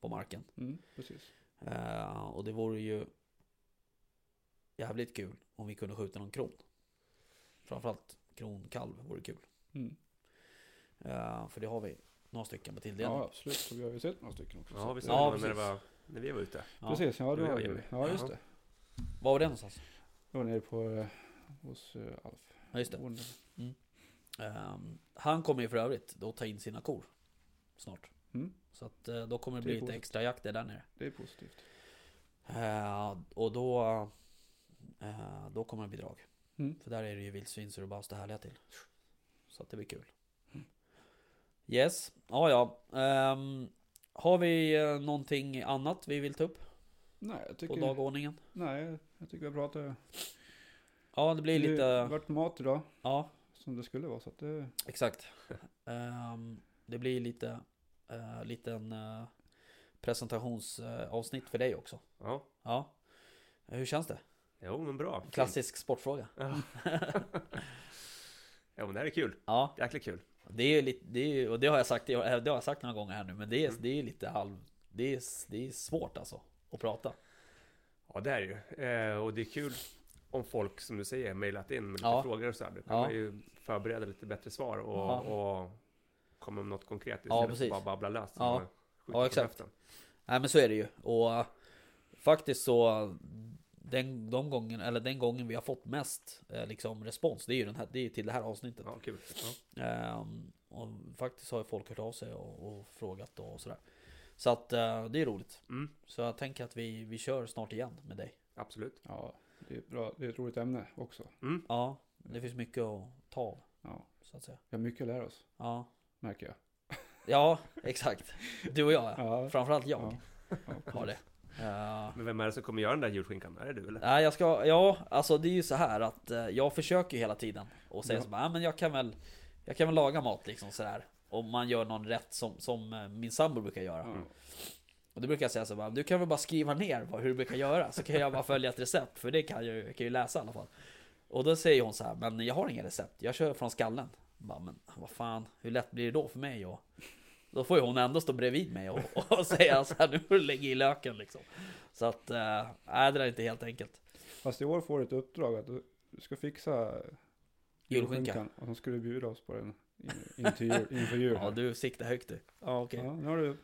på marken. mm, precis. Eh, och det vore ju jävligt kul om vi kunde skjuta någon kron. Framförallt kronkalv vore kul. Mm. Eh, för det har vi några stycken på tilldelning. Ja, absolut. Så vi har ju sett några stycken också. Ja, vi Så- såg Ja, det när, det precis. var, när vi var ute. Ja. Precis, ja, Du det och var jag, ju. Jimmy. Ja, just Ja. det. Var var det någonstans? Jag var nere på, eh, hos eh, Alf. Ja just det. Bonden. Ehm, han kommer ju för övrigt då ta in sina kor snart. Mm. Så att eh, då kommer det Det är bli lite positivt. extra jakter där nere. Det är positivt. Eh, och då, eh, då kommer det bli drag. Mm. För där är det ju vildsvin så det är bara att stå härliga till. Så att det blir kul. Yes, ja ja. Ehm, Har vi eh, någonting annat vi vill ta upp Nej, jag på tycker, dagordningen? nej, jag tycker vi pratar. Ja, det blir Det lite... vart mat idag, Ja, som det skulle vara. Så att det, exakt. Ehm, det blir lite... Uh, liten presentationsavsnitt för dig också. Ja, Ja. Hur känns det? jo men bra. Fint. Klassisk sportfråga. Ja. jo men det här är kul. Ja, Jäkligt kul. det är ju lite... Det är, ju- och det har, jag sagt, det har jag sagt några gånger här nu, men det är, Mm. det är lite halv... Det är, det är svårt alltså, att prata. Ja det är det ju. Eh, och det är kul om folk som du säger mejlat in med lite Ja. frågor och så här. Då kan Ja. man ju förbereda lite bättre svar och, Ja. och komma med något konkret Ja, istället för precis. att bara babbla löst. som Ja. man skjuter Ja, på exakt. höften. Nej men så är det ju och äh, faktiskt så äh, den, de gången, eller den gången vi har fått mest äh, liksom, respons det är ju den här, det är ju till det här avsnittet. Ja, kul. Ja. Ehm, och faktiskt har ju folk hört av sig och, och frågat och sådär. Så att äh, det är roligt. Mm, Så jag tänker att vi, vi kör snart igen med dig. absolut. ja, det är, ett bra, det är ett roligt ämne också. Mm, Ja, det finns mycket att ta av Ja, så att säga. vi har mycket att lära oss, Ja, märker jag. ja exakt. Du och jag, ja. Ja, framförallt jag ja, ja. har det. Ehm, men vem är det som kommer göra den där julskinkan? Är det du eller? Nej jag ska, ja alltså det är ju så här att eh, jag försöker ju hela tiden och säga Ja. så bara, "Ja, men jag kan väl Jag kan väl laga mat liksom sådär Om man gör någon rätt som, som eh, min sambo brukar göra Ja. Och då brukar jag säga så bara, du kan väl bara skriva ner vad, hur du brukar göra Så kan jag bara följa ett recept för det kan jag, ju- jag kan ju läsa i alla fall Och då säger hon så här, men jag har inga recept, jag kör från skallen Jag bara, Men vad fan, hur lätt blir det då för mig? Och, då får ju hon ändå stå bredvid mig och, och säga så här, nu får du lägga i löken liksom Så att, eh, nej det där är inte helt enkelt Fast i år får du ett uppdrag att du du ska fixa Julskinka. julskinkan, Och så ska du bjuda oss på den in- in till jul, inför jul. Ja, du siktar högt du. Ja, okej. Ja, nu har du,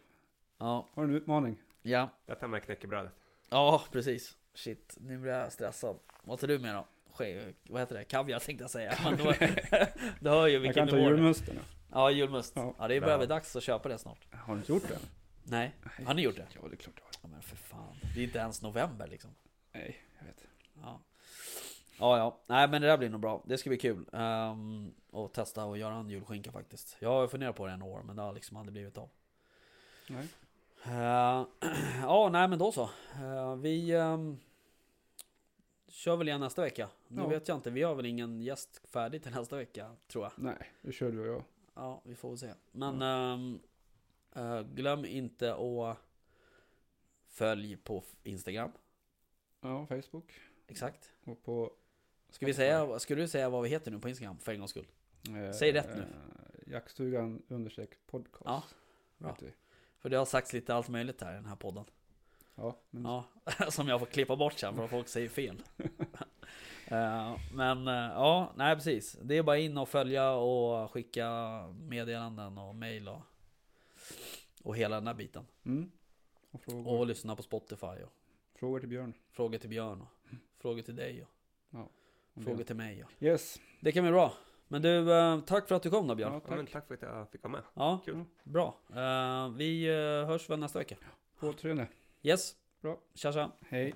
Ja. har du en utmaning. ja. Jag tar med knäckebrödet. Ja, precis. Shit, nu blir jag stressad. Vad tar du med då? Ske, vad heter det? Kaviar tänkte jag säga. Men då, du hör ju Jag vilken kan ta nivå det är. julmusten. nu. Ja, julmust. Ja. Ja, det börjar Ja. väl dags att köpa det snart. Har du inte gjort det? Nej, har ni gjort det? Ja, det är klart du har. Ja, men för fan. Det är inte ens november liksom. Nej, jag vet. Ja. ja, ja. Nej, men det där blir nog bra. Det ska bli kul. ehm, att testa och göra en julskinka faktiskt. Jag har funderat på det i några år, men det har liksom aldrig blivit av. Nej. Eh, ja, nej men då så. Eh, vi ehm, kör väl igen nästa vecka. Nu Ja. vet jag inte, vi har väl ingen gäst färdig till nästa vecka tror jag. Nej, det kör du och jag. Ja, vi får väl se. Men ehm, eh, glöm inte att följ på Instagram. Ja, Facebook. Exakt. Och på... Ska, vi säga, ska du säga vad vi heter nu på Instagram för en gångs skull? Eh, Säg rätt nu. Eh, jaktstugan understreck podcast. Ja, bra. Vet vi. För det har sagts lite allt möjligt här i den här podden. Ja, men Ja, som jag får klippa bort sen för att folk säger fel. Eh, Men eh, ja, nej precis. Det är bara in och följa och skicka meddelanden och mail och, och hela den här biten. Mm. Och frågor, Och lyssna på Spotify och frågor till Björn. frågor till Björn och frågor till dig och Om frågor till mig. Och. Björn. Yes. Det kan bli bra. Men du, eh, tack för att du kom då Björn. Ja, Ja, men tack. tack för att jag fick vara med. Ja, Kul. bra. Eh, Vi eh, hörs väl nästa vecka. På återseende. Yes. Bra. Tja tja. Hej.